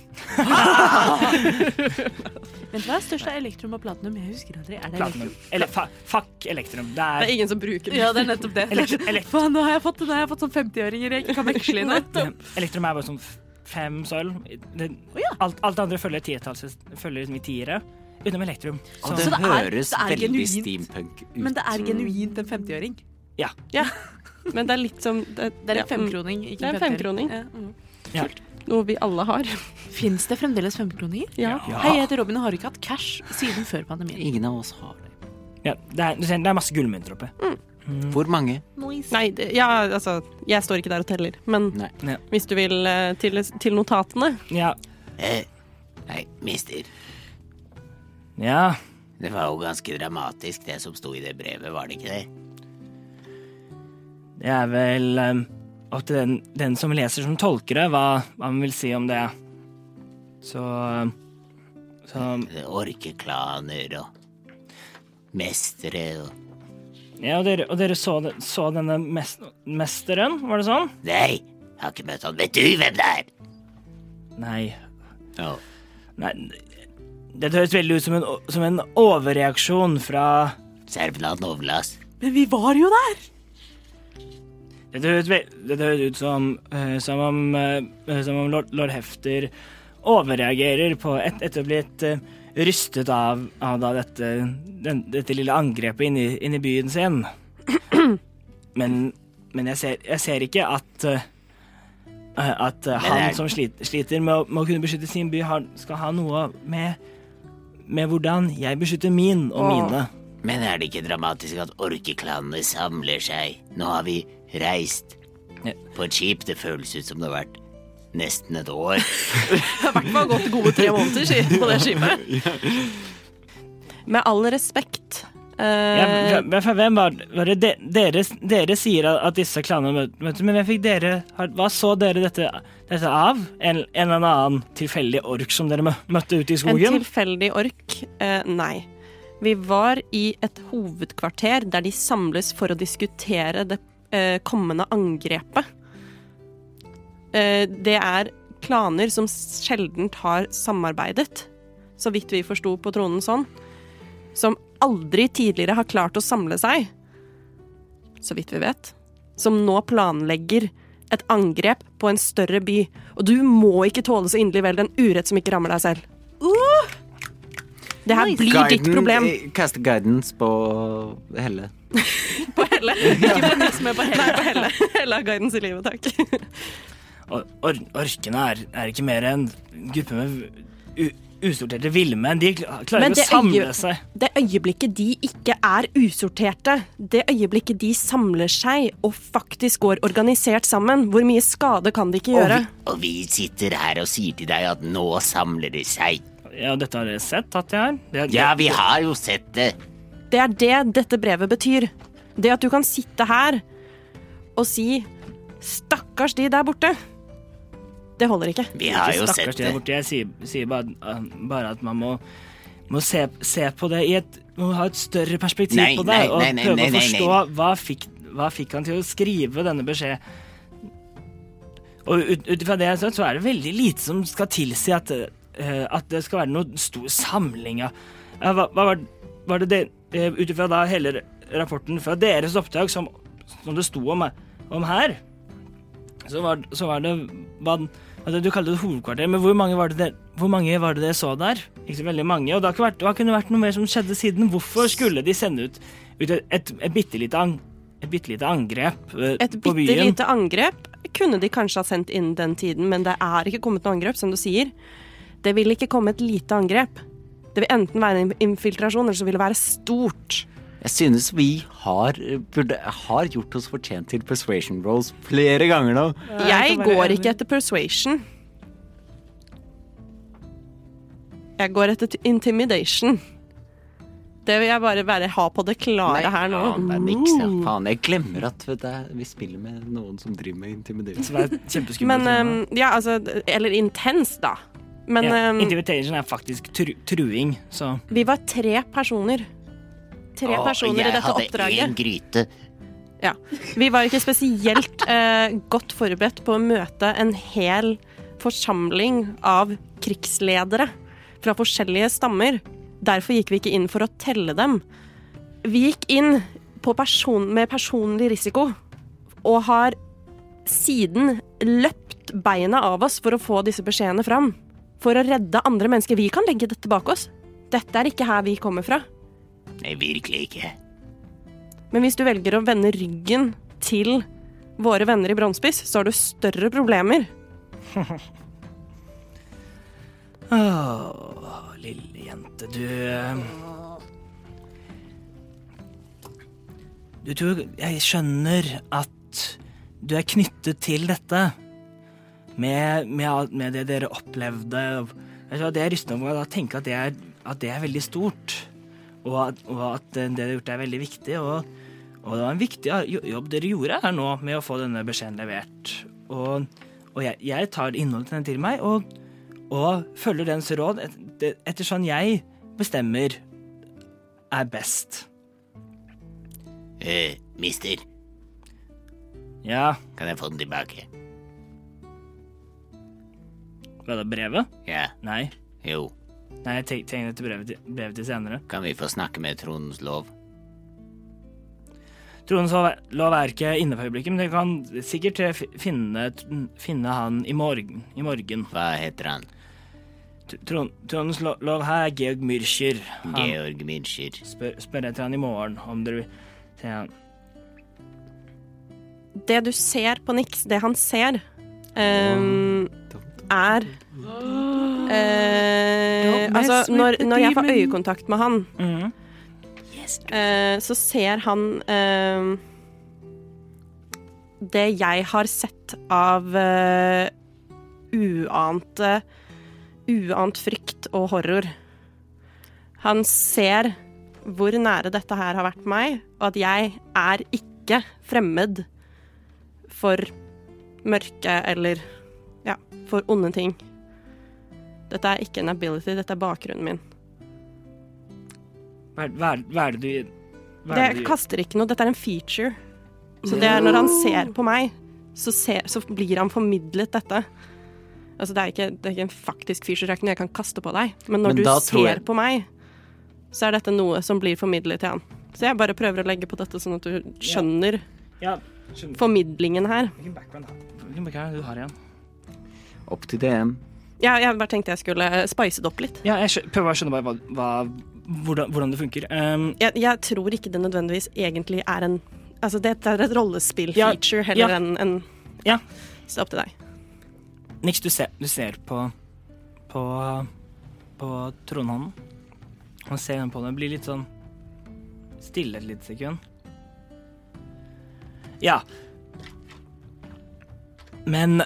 [SPEAKER 4] Vent, hva er størst av elektrum og platinum? Jeg husker aldri. Er det
[SPEAKER 3] Platinum. Eller fa, fuck elektrum. Det
[SPEAKER 5] Det er
[SPEAKER 3] er
[SPEAKER 5] ingen som bruker
[SPEAKER 4] elektrum? Ja, det er nettopp det.
[SPEAKER 3] Elekt- elekt-
[SPEAKER 4] Faen, nå har jeg fått, nå har jeg fått sånn 50-åringer jeg ikke kan veksle inn.
[SPEAKER 3] Elektrum er bare sånn f- fem sølv. Det, alt, alt det andre følger tietalls, følger liksom i tiere. Utenom elektrum. Så,
[SPEAKER 7] Og det,
[SPEAKER 4] Så det er-
[SPEAKER 7] høres
[SPEAKER 4] det er
[SPEAKER 7] veldig
[SPEAKER 4] genuint.
[SPEAKER 7] steampunk ut.
[SPEAKER 4] Men det er genuint en 50-åring.
[SPEAKER 3] ja.
[SPEAKER 5] Men det er litt som Det,
[SPEAKER 3] Mm.
[SPEAKER 4] Det er
[SPEAKER 5] ja, mm.
[SPEAKER 4] en femkroning, ikke
[SPEAKER 5] Det
[SPEAKER 4] en
[SPEAKER 5] er en
[SPEAKER 4] 50-åring.
[SPEAKER 5] femkroning.
[SPEAKER 4] Ja, mm.
[SPEAKER 5] mm, Noe vi alle har.
[SPEAKER 4] Fins det fremdeles femkroninger?
[SPEAKER 5] Ja.
[SPEAKER 4] Hei, jeg heter Robin og har ikke hatt cash siden før pandemien.
[SPEAKER 7] Ingen av oss har det.
[SPEAKER 3] ja det, er, du ser, det er masse gullmynter oppe.
[SPEAKER 7] Hvor mange?
[SPEAKER 5] Nei, det, ja, altså Jeg står ikke der og teller, men
[SPEAKER 7] Nei.
[SPEAKER 3] Ja.
[SPEAKER 5] hvis du vil eh, til, til notatene
[SPEAKER 3] Ja.
[SPEAKER 6] Eh, nei, mister.
[SPEAKER 3] ja.
[SPEAKER 6] Det var jo ganske dramatisk, det som sto i det brevet, var det ikke det?
[SPEAKER 3] Det er vel um, opp til den, den som leser som tolker det, hva hva man vil si om det. Så, um, så
[SPEAKER 6] Orkeklaner og mestere og
[SPEAKER 3] Ja, og dere, og dere så, det- så denne mes mesteren, var det sånn?
[SPEAKER 6] Nei, jeg har ikke møtt han. Vet du hvem det er?
[SPEAKER 3] Nei. Nei Dette høres veldig ut som en, o- som en overreaksjon fra
[SPEAKER 6] Servland Ovlas.
[SPEAKER 4] Men vi var jo der!
[SPEAKER 3] Dette høres, vel, dette høres ut som, eh, som om, eh, som om lord, lord Hefter overreagerer på et, etter å ha blitt eh, rystet av, av da dette, den, dette lille angrepet inn i, inn i byen sin. Men, men jeg, ser, jeg ser ikke at eh, at eh, han
[SPEAKER 6] jeg-
[SPEAKER 3] som sliter, sliter med, å, med å kunne beskytte sin by, har, skal ha noe med, med hvordan jeg beskytter min og
[SPEAKER 5] Åh.
[SPEAKER 3] mine.
[SPEAKER 6] Men er det ikke dramatisk at orkeklanene samler seg? Nå har vi reist
[SPEAKER 3] Ja.
[SPEAKER 6] på et skip. Det føles ut som det har vært nesten et år.
[SPEAKER 5] Det har gått gode tre måneder sier- på det skipet. Med all respekt
[SPEAKER 3] Ja,
[SPEAKER 5] eh,
[SPEAKER 3] hva- hva- hva- hvem var, var det de, dere, dere sier at- at disse klanene møtes, men hvem fikk dere har- Hva så dere dette, dette av? En, en eller annen tilfeldig ork som dere mø- møtte ute i
[SPEAKER 5] En
[SPEAKER 3] skogen?
[SPEAKER 5] tilfeldig ork? Eh, nei. Vi var i et hovedkvarter der de samles for å diskutere det eh, kommende angrepet. Eh, det er klaner som sjelden har samarbeidet, så vidt vi forsto på tronen sånn, som aldri tidligere har klart å samle seg, så vidt vi vet, som nå planlegger et angrep på en større by. Og du må ikke tåle så inderlig vel den urett som ikke rammer deg selv. Det her blir ditt problem.
[SPEAKER 7] Kaste eh, guidance på Helle.
[SPEAKER 5] På Helle. Ikke på Nix, men på Helle. Nei, på Helle. Helle har guidance i livet, takk.
[SPEAKER 3] Or, or, orkene er, er ikke mer enn en gruppe med u, usorterte villmenn. De kla- klarer
[SPEAKER 5] Men
[SPEAKER 3] å
[SPEAKER 5] det er
[SPEAKER 3] samle
[SPEAKER 5] jo-
[SPEAKER 3] seg.
[SPEAKER 5] Det øyeblikket de ikke er usorterte, det øyeblikket de samler seg og faktisk går organisert sammen, hvor mye skade kan de ikke
[SPEAKER 6] Og
[SPEAKER 5] gjøre?
[SPEAKER 6] vi, og vi sitter her og sier til deg at nå samler de seg.
[SPEAKER 3] Ja, dette har dere sett at de har? Det-
[SPEAKER 6] Ja, vi har jo sett det.
[SPEAKER 5] Det er det dette brevet betyr. Det at du kan sitte her og si 'stakkars de der borte', det holder ikke.
[SPEAKER 6] Vi har jo
[SPEAKER 3] Stakkars
[SPEAKER 6] sett
[SPEAKER 3] de der
[SPEAKER 6] det.
[SPEAKER 3] borte. Jeg sier, sier bare, uh, bare at man må, må se, se på det i et Må ha et større perspektiv
[SPEAKER 6] Nei,
[SPEAKER 3] på det.
[SPEAKER 6] nei,
[SPEAKER 3] og
[SPEAKER 6] nei, nei,
[SPEAKER 3] prøve
[SPEAKER 6] nei,
[SPEAKER 3] å
[SPEAKER 6] nei,
[SPEAKER 3] forstå hva fikk, hva fikk han til å skrive denne beskjed. Og ut ut ifra det jeg har sett, så er det veldig lite som skal tilsi at, eh, at det skal være noe stor samling av ja, Hva, hva var, var det det eh, Ut ifra da hele rapporten fra deres oppdrag som, som det sto om, om her, så var, så var det hva, hva det Du kalte det hovedkvarter, men hvor mange var det der, hvor mange var det dere så der? Ikke så veldig mange. Og det har ikke vært, det har ikke vært noe mer som skjedde siden. Hvorfor skulle de sende ut, ut et, et, et bitte lite an, et bitte lite angrep eh,
[SPEAKER 5] Et
[SPEAKER 3] på
[SPEAKER 5] bitte
[SPEAKER 3] byen?
[SPEAKER 5] lite angrep kunne de kanskje ha sendt innen den tiden, men det er ikke kommet noe angrep, som du sier. Det vil ikke komme et lite angrep. Det vil enten være en infiltrasjon, eller så vil det være stort.
[SPEAKER 7] Jeg synes vi har, burde, har gjort oss fortjent til persuasion rolls flere ganger nå.
[SPEAKER 5] Jeg går ikke etter persuasion. Jeg går etter t- intimidation. Det vil jeg bare være ha på det klare her nå.
[SPEAKER 7] faen,
[SPEAKER 3] Mm.
[SPEAKER 7] det er niks, ja. Faen, jeg glemmer at vet du, vi spiller med noen som driver med intimidering.
[SPEAKER 3] Som er kjempeskummelt.
[SPEAKER 5] Men ehm, ja, altså d- Eller intens, da. Men
[SPEAKER 3] ja,
[SPEAKER 5] ehm,
[SPEAKER 3] Intimidation er faktisk tru, truing, så
[SPEAKER 5] vi var tre personer. Tre
[SPEAKER 6] Og
[SPEAKER 5] personer i dette
[SPEAKER 6] Jeg hadde én
[SPEAKER 5] oppdraget.
[SPEAKER 6] gryte.
[SPEAKER 5] Ja. Vi var ikke spesielt eh, godt forberedt på å møte en hel forsamling av krigsledere fra forskjellige stammer. Derfor gikk vi ikke inn for å telle dem. Vi gikk inn på person med personlig risiko og har siden løpt beina av oss for å få disse beskjedene fram. For å redde andre mennesker. Vi kan legge dette bak oss. Dette er ikke her vi kommer fra.
[SPEAKER 6] Nei, virkelig ikke.
[SPEAKER 5] Men hvis du velger å vende ryggen til våre venner i Bronsepiss, så har du større problemer.
[SPEAKER 3] Åh, lille jente, du eh, Du tror Jeg skjønner at du er knyttet til dette. Med, med, alt- med det dere opplevde. Jeg tror det er rystende over å tenke at det er, at det er veldig stort. Og at, og at det dere har gjort, er veldig viktig. Og, Og det var en viktig ar- jo- jobb dere gjorde her nå med å få denne beskjeden levert. Og, og jeg, jeg tar innholdet til den til meg og, og følger dens råd et, det- etter sånn jeg bestemmer er best.
[SPEAKER 6] Eh, mister,
[SPEAKER 3] Ja,
[SPEAKER 6] kan jeg få den tilbake?
[SPEAKER 3] var det brevet?
[SPEAKER 6] Ja,
[SPEAKER 3] Nei.
[SPEAKER 6] jo.
[SPEAKER 3] Nei, jeg te- tegner til brevet til, brevet til senere.
[SPEAKER 6] Kan vi få snakke med Trondens lov?
[SPEAKER 3] Tronen så lå verket inne for øyeblikket, men dere kan sikkert eh, fi- finne, finne han i morgen. I morgen.
[SPEAKER 6] Hva heter han?
[SPEAKER 3] Tr- Tron- Tronens lo- lov her er Georg Mürcher. Han
[SPEAKER 6] Georg Müncher.
[SPEAKER 3] spør, spør etter han i morgen, om dere vil se han.
[SPEAKER 5] Det du ser på Nix, det han ser, ehm, er eh,
[SPEAKER 4] Don't mess
[SPEAKER 5] Altså,
[SPEAKER 4] with
[SPEAKER 5] når,
[SPEAKER 4] the
[SPEAKER 5] når jeg får
[SPEAKER 4] demon.
[SPEAKER 5] øyekontakt med han, eh, så ser han ehm, det jeg har sett av eh, uante Uant frykt og horror. Han ser hvor nære dette her har vært meg, og at jeg er ikke fremmed for mørke eller ja, for onde ting. Dette er ikke en ability, dette er bakgrunnen min.
[SPEAKER 3] Hva, er- hva, er- hva er det du hva er det
[SPEAKER 5] Det
[SPEAKER 3] du-
[SPEAKER 5] kaster ikke noe, dette er en feature. Så det er når han ser på meg, så, ser, så blir han formidlet dette. Altså det er ikke, det er ikke en faktisk feature, det er ikke noe jeg kan kaste på deg. Men når
[SPEAKER 7] Men
[SPEAKER 5] du
[SPEAKER 7] da tror
[SPEAKER 5] ser
[SPEAKER 7] jeg-
[SPEAKER 5] på meg, så er dette noe som blir formidlet til han. Så jeg bare prøver å legge på dette sånn at du skjønner
[SPEAKER 3] Ja, skjønner.
[SPEAKER 5] formidlingen her.
[SPEAKER 3] Hvilken background har hvilken background er det du har igjen?
[SPEAKER 7] Opp til DM.
[SPEAKER 5] Ja, jeg bare tenkte jeg skulle spice det opp litt.
[SPEAKER 3] Ja, jeg skjø- prøver å skjønne bare hva, hva, hvordan, hvordan det funker. Ehm,
[SPEAKER 5] Jeg, jeg tror ikke det nødvendigvis egentlig er en Altså, det er et rollespill-feature
[SPEAKER 3] Ja,
[SPEAKER 5] heller
[SPEAKER 3] ja.
[SPEAKER 5] enn en,
[SPEAKER 3] Ja.
[SPEAKER 5] Så det er opp til deg.
[SPEAKER 3] Nix, du ser, du ser på på, på tronhånden. Og ser den på deg. Blir litt sånn stille et lite sekund. Ja. Men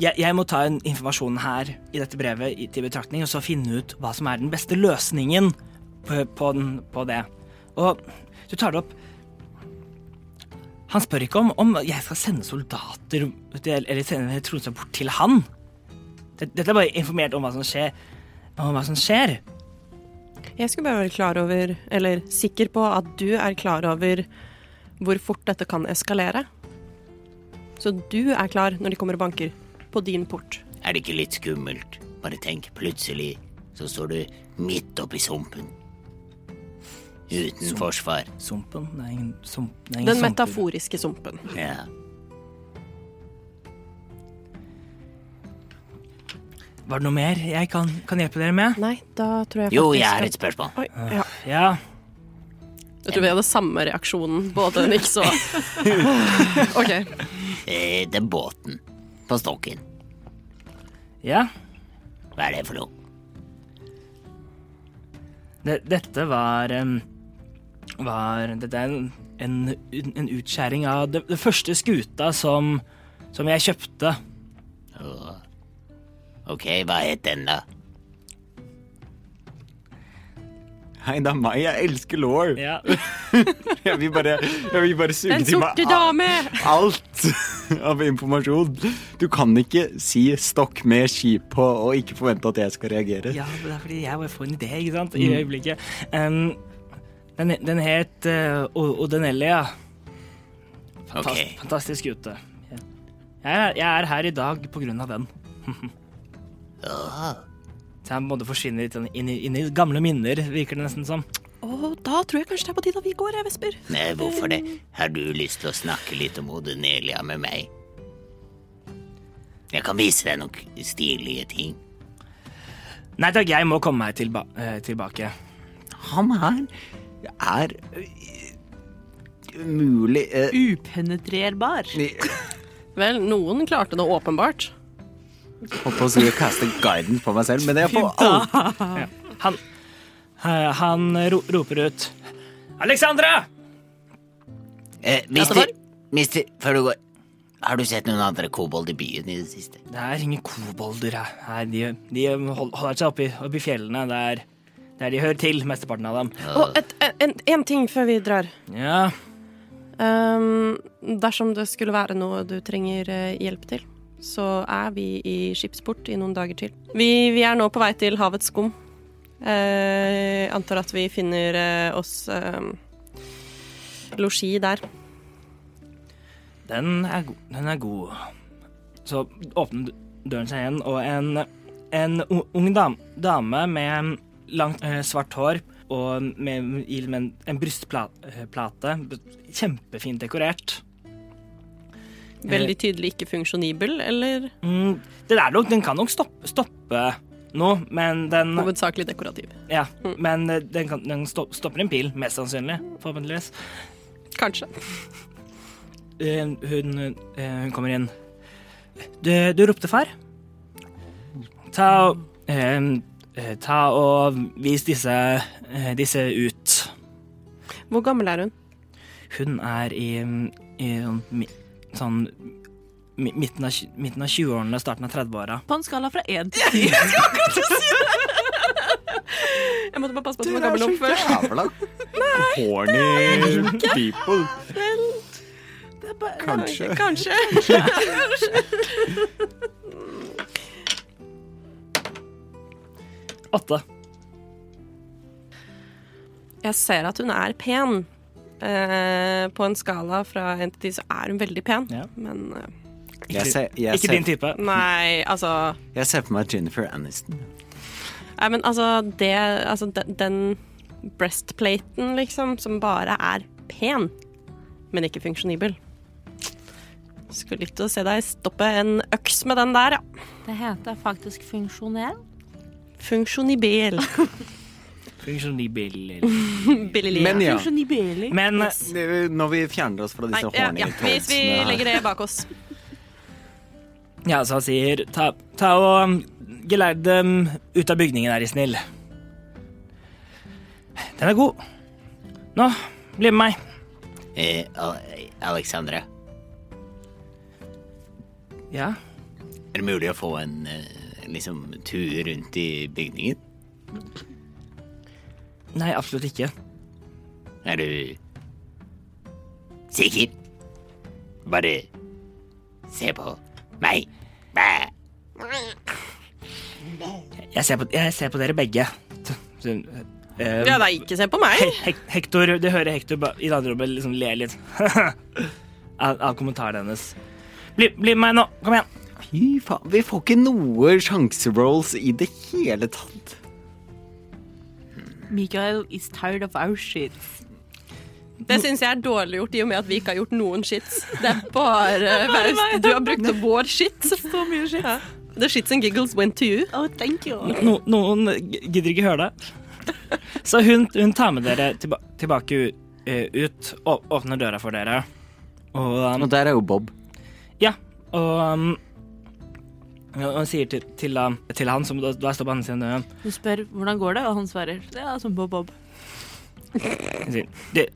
[SPEAKER 3] jeg, jeg må ta en informasjonen her i dette brevet i, til betraktning, og så finne ut hva som er den beste løsningen på, på, den, på det. Og du tar det opp Han spør ikke om, om jeg skal sende soldater til, eller sende Tromsø bort til han. Dette dette er bare informert om hva som skjer. Om hva som skjer.
[SPEAKER 5] Jeg skulle bare være klar over, eller sikker på, at du er klar over hvor fort dette kan eskalere. Så du er klar når de kommer og banker på din port.
[SPEAKER 6] Er det ikke litt skummelt? Bare tenk, plutselig så står du midt oppi sumpen. Uten forsvar.
[SPEAKER 3] Sumpen Det er ingen sump. Det er ingen
[SPEAKER 5] Den
[SPEAKER 3] sumper.
[SPEAKER 5] metaforiske sumpen.
[SPEAKER 6] Ja.
[SPEAKER 3] Var det noe mer jeg kan, kan hjelpe dere med?
[SPEAKER 5] Nei, da tror jeg faktisk
[SPEAKER 6] Jo, jeg
[SPEAKER 5] at-
[SPEAKER 6] har et spørsmål.
[SPEAKER 5] Oi, ja.
[SPEAKER 3] Ja.
[SPEAKER 5] Jeg tror vi hadde samme reaksjonen, både Nix og OK.
[SPEAKER 6] Eh, den båten på stokken,
[SPEAKER 3] ja.
[SPEAKER 6] hva er det for noe?
[SPEAKER 3] Det, dette var, em, var Dette er en, en, en utskjæring av det, det første skuta som, som jeg kjøpte.
[SPEAKER 6] Åh. Ok, hva het den, da?
[SPEAKER 7] Hei, det er meg. Jeg elsker law.
[SPEAKER 3] Ja.
[SPEAKER 7] Jeg vil bare, jeg vil bare suge
[SPEAKER 5] Den
[SPEAKER 7] til meg
[SPEAKER 5] sorte dame!
[SPEAKER 7] alt av informasjon. Du kan ikke si 'stokk med ski på' og ikke forvente at jeg skal reagere.
[SPEAKER 3] ja, men det er fordi jeg bare får en idé, ikke sant? I øyeblikket. Em, den, den het eh, O- Odenellia. Fantast,
[SPEAKER 6] Ok.
[SPEAKER 3] Fantastisk skute. Jeg, er- jeg er her i dag på grunn av den.
[SPEAKER 6] Åh.
[SPEAKER 3] Så jeg måtte forsvinne litt sånn inn i, inn i gamle minner, virker det nesten som.
[SPEAKER 5] Å, da tror jeg kanskje det er på tide at vi går, jeg, Vesper.
[SPEAKER 6] Nei, hvorfor det? Har du lyst til å snakke litt om Odenelia med meg? Jeg kan vise deg noen k- stilige ting.
[SPEAKER 3] Nei takk, jeg må komme meg tilba eh, tilbake.
[SPEAKER 7] Han her er øh, umulig øh,
[SPEAKER 4] Upenetrerbar.
[SPEAKER 5] Vel, noen klarte det åpenbart.
[SPEAKER 7] Holdt på å si å kaste guidance på meg selv, men jeg får alt.
[SPEAKER 3] Han, eh, han ro roper ut Alexandra!
[SPEAKER 6] Eh, mister, mister, før du går Har du sett noen andre kobold i byen i det siste?
[SPEAKER 3] Det er ingen kobolder her. her. De, de hold- holder seg oppe i, oppe i fjellene. Det er, Der de hører til, mesteparten av dem.
[SPEAKER 5] Og et, en, en ting før vi drar.
[SPEAKER 3] Ja,
[SPEAKER 5] Ehm, dersom det skulle være noe du trenger eh, hjelp til, så er vi i skipsport i noen dager til. Vi, vi er nå på vei til havets skum. Eh, antar at vi finner eh, oss um, losji der.
[SPEAKER 3] den er god. Den er god. Så åpner døren seg igjen, og en, en u- ung dam, dame med langt eh, svart hår og med, i- med en, en brystplate, kjempefint dekorert,
[SPEAKER 5] Veldig tydelig ikke funksjonibel, eller
[SPEAKER 3] Mm, det der nok, den kan nok stoppe, stoppe nå, men den,
[SPEAKER 5] hovedsakelig dekorativ.
[SPEAKER 3] ja, men eh, den, kan, den stop- stopper en pil, mest sannsynlig, forhåpentligvis.
[SPEAKER 5] Kanskje.
[SPEAKER 3] Eh, Hun, eh, hun kommer inn. Du, du ropte far? Ta, og- eh, eh, ta og vis disse, eh, disse ut.
[SPEAKER 5] Hvor gammel er hun?
[SPEAKER 3] Hun er i, i sånn, mi- sånn mi- midten av, tj- midten av 20-årene, starten av 30-åra.
[SPEAKER 4] På en skala fra én til ti.
[SPEAKER 5] Jeg måtte bare passe på at hun var gammel nok først.
[SPEAKER 7] Jævla horny people. Kanskje.
[SPEAKER 5] Kanskje.
[SPEAKER 3] Åtte.
[SPEAKER 5] Jeg ser at hun er pen. Eh, på en skala fra 1 til 10 så er hun veldig pen,
[SPEAKER 3] Ja.
[SPEAKER 5] men eh,
[SPEAKER 7] Jeg ser, jeg,
[SPEAKER 3] Ikke din
[SPEAKER 7] ser,
[SPEAKER 3] type.
[SPEAKER 5] Nei, altså
[SPEAKER 7] jeg ser for meg Jennifer Aniston.
[SPEAKER 5] Nei, men altså det Altså den, den breastplaten, liksom, som bare er pen, men ikke funksjonibel. Skulle likt å se deg stoppe en øks med den der, ja.
[SPEAKER 4] Det heter faktisk funksjonell.
[SPEAKER 5] Funksjonibel.
[SPEAKER 3] Funksjonibiller.
[SPEAKER 5] Billig.
[SPEAKER 7] Men ja,
[SPEAKER 4] Funksjonibelig.
[SPEAKER 3] Men eh,
[SPEAKER 7] når vi fjerner oss fra
[SPEAKER 5] Nei,
[SPEAKER 7] disse
[SPEAKER 5] ja, ja.
[SPEAKER 7] horny
[SPEAKER 5] Hvis vi
[SPEAKER 7] toadsene her
[SPEAKER 5] legger det bak oss.
[SPEAKER 3] ja, så han sier ta, ta og um, geleid dem ut av bygningen, er de snill. Den er god. Nå, bli med meg.
[SPEAKER 6] Eh, Al- Alexandra,
[SPEAKER 3] Ja.
[SPEAKER 6] er det mulig å få en eh, liksom tur rundt i bygningen?
[SPEAKER 3] Nei, absolutt ikke.
[SPEAKER 6] Er du sikker? Bare se på meg. Bæ.
[SPEAKER 3] Jeg ser på, jeg ser på dere begge. Så- så, eh,
[SPEAKER 5] Ja, nei, ikke se på meg.
[SPEAKER 3] He- Hek Hector, du hører Hector ba- i det andre rommet liksom le litt av, av kommentaren hennes. Bli, bli med meg nå. Kom igjen.
[SPEAKER 7] Fy faen, vi får ikke noe sjanserolls i det hele tatt.
[SPEAKER 4] Mikael is tired of our shit.
[SPEAKER 5] Det syns jeg er dårlig gjort, i og med at vi ikke har gjort noen shits. Det er bare Faust. Du har brukt opp vår shit. Så mye shit. Ja. The shits and giggles went to you.
[SPEAKER 4] Oh, thank you.
[SPEAKER 3] No, noen g- gidder ikke høre det. Så hun, hun tar med dere tilba tilbake u- eh, ut, og åpner døra for dere. Og, um,
[SPEAKER 7] Og der er jo Bob.
[SPEAKER 3] ja, og um, og hun sier til, til, um, til han, som da, da står på andre siden av døren
[SPEAKER 4] Du spør hvordan går det, og han svarer ja, som Bob Bob.
[SPEAKER 3] Hun sier, «Du-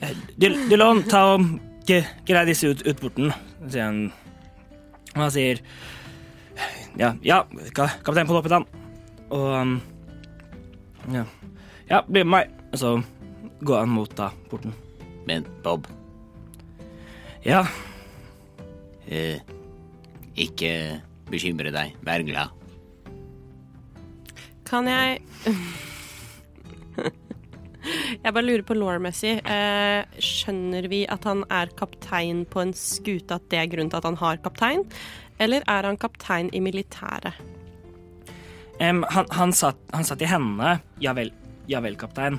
[SPEAKER 3] eh, du- Dylan, ta og ge- grei disse ut, ut porten, sier han. Og han sier Ja, ja ka, kaptein på Loppetann. Og um, ja. ja, bli med meg. Og så går han mot da porten.
[SPEAKER 6] Men Bob,
[SPEAKER 3] Ja,
[SPEAKER 6] eh, ikke bekymre deg. Vær glad.
[SPEAKER 5] Kan jeg Jeg bare lurer på law-messig. Eh, skjønner vi at han er kaptein på en skute, at det er grunnen til at han har kaptein? Eller er han kaptein i militæret?
[SPEAKER 3] em, han, han, satt, han satt i henne. Ja vel, ja vel, kaptein.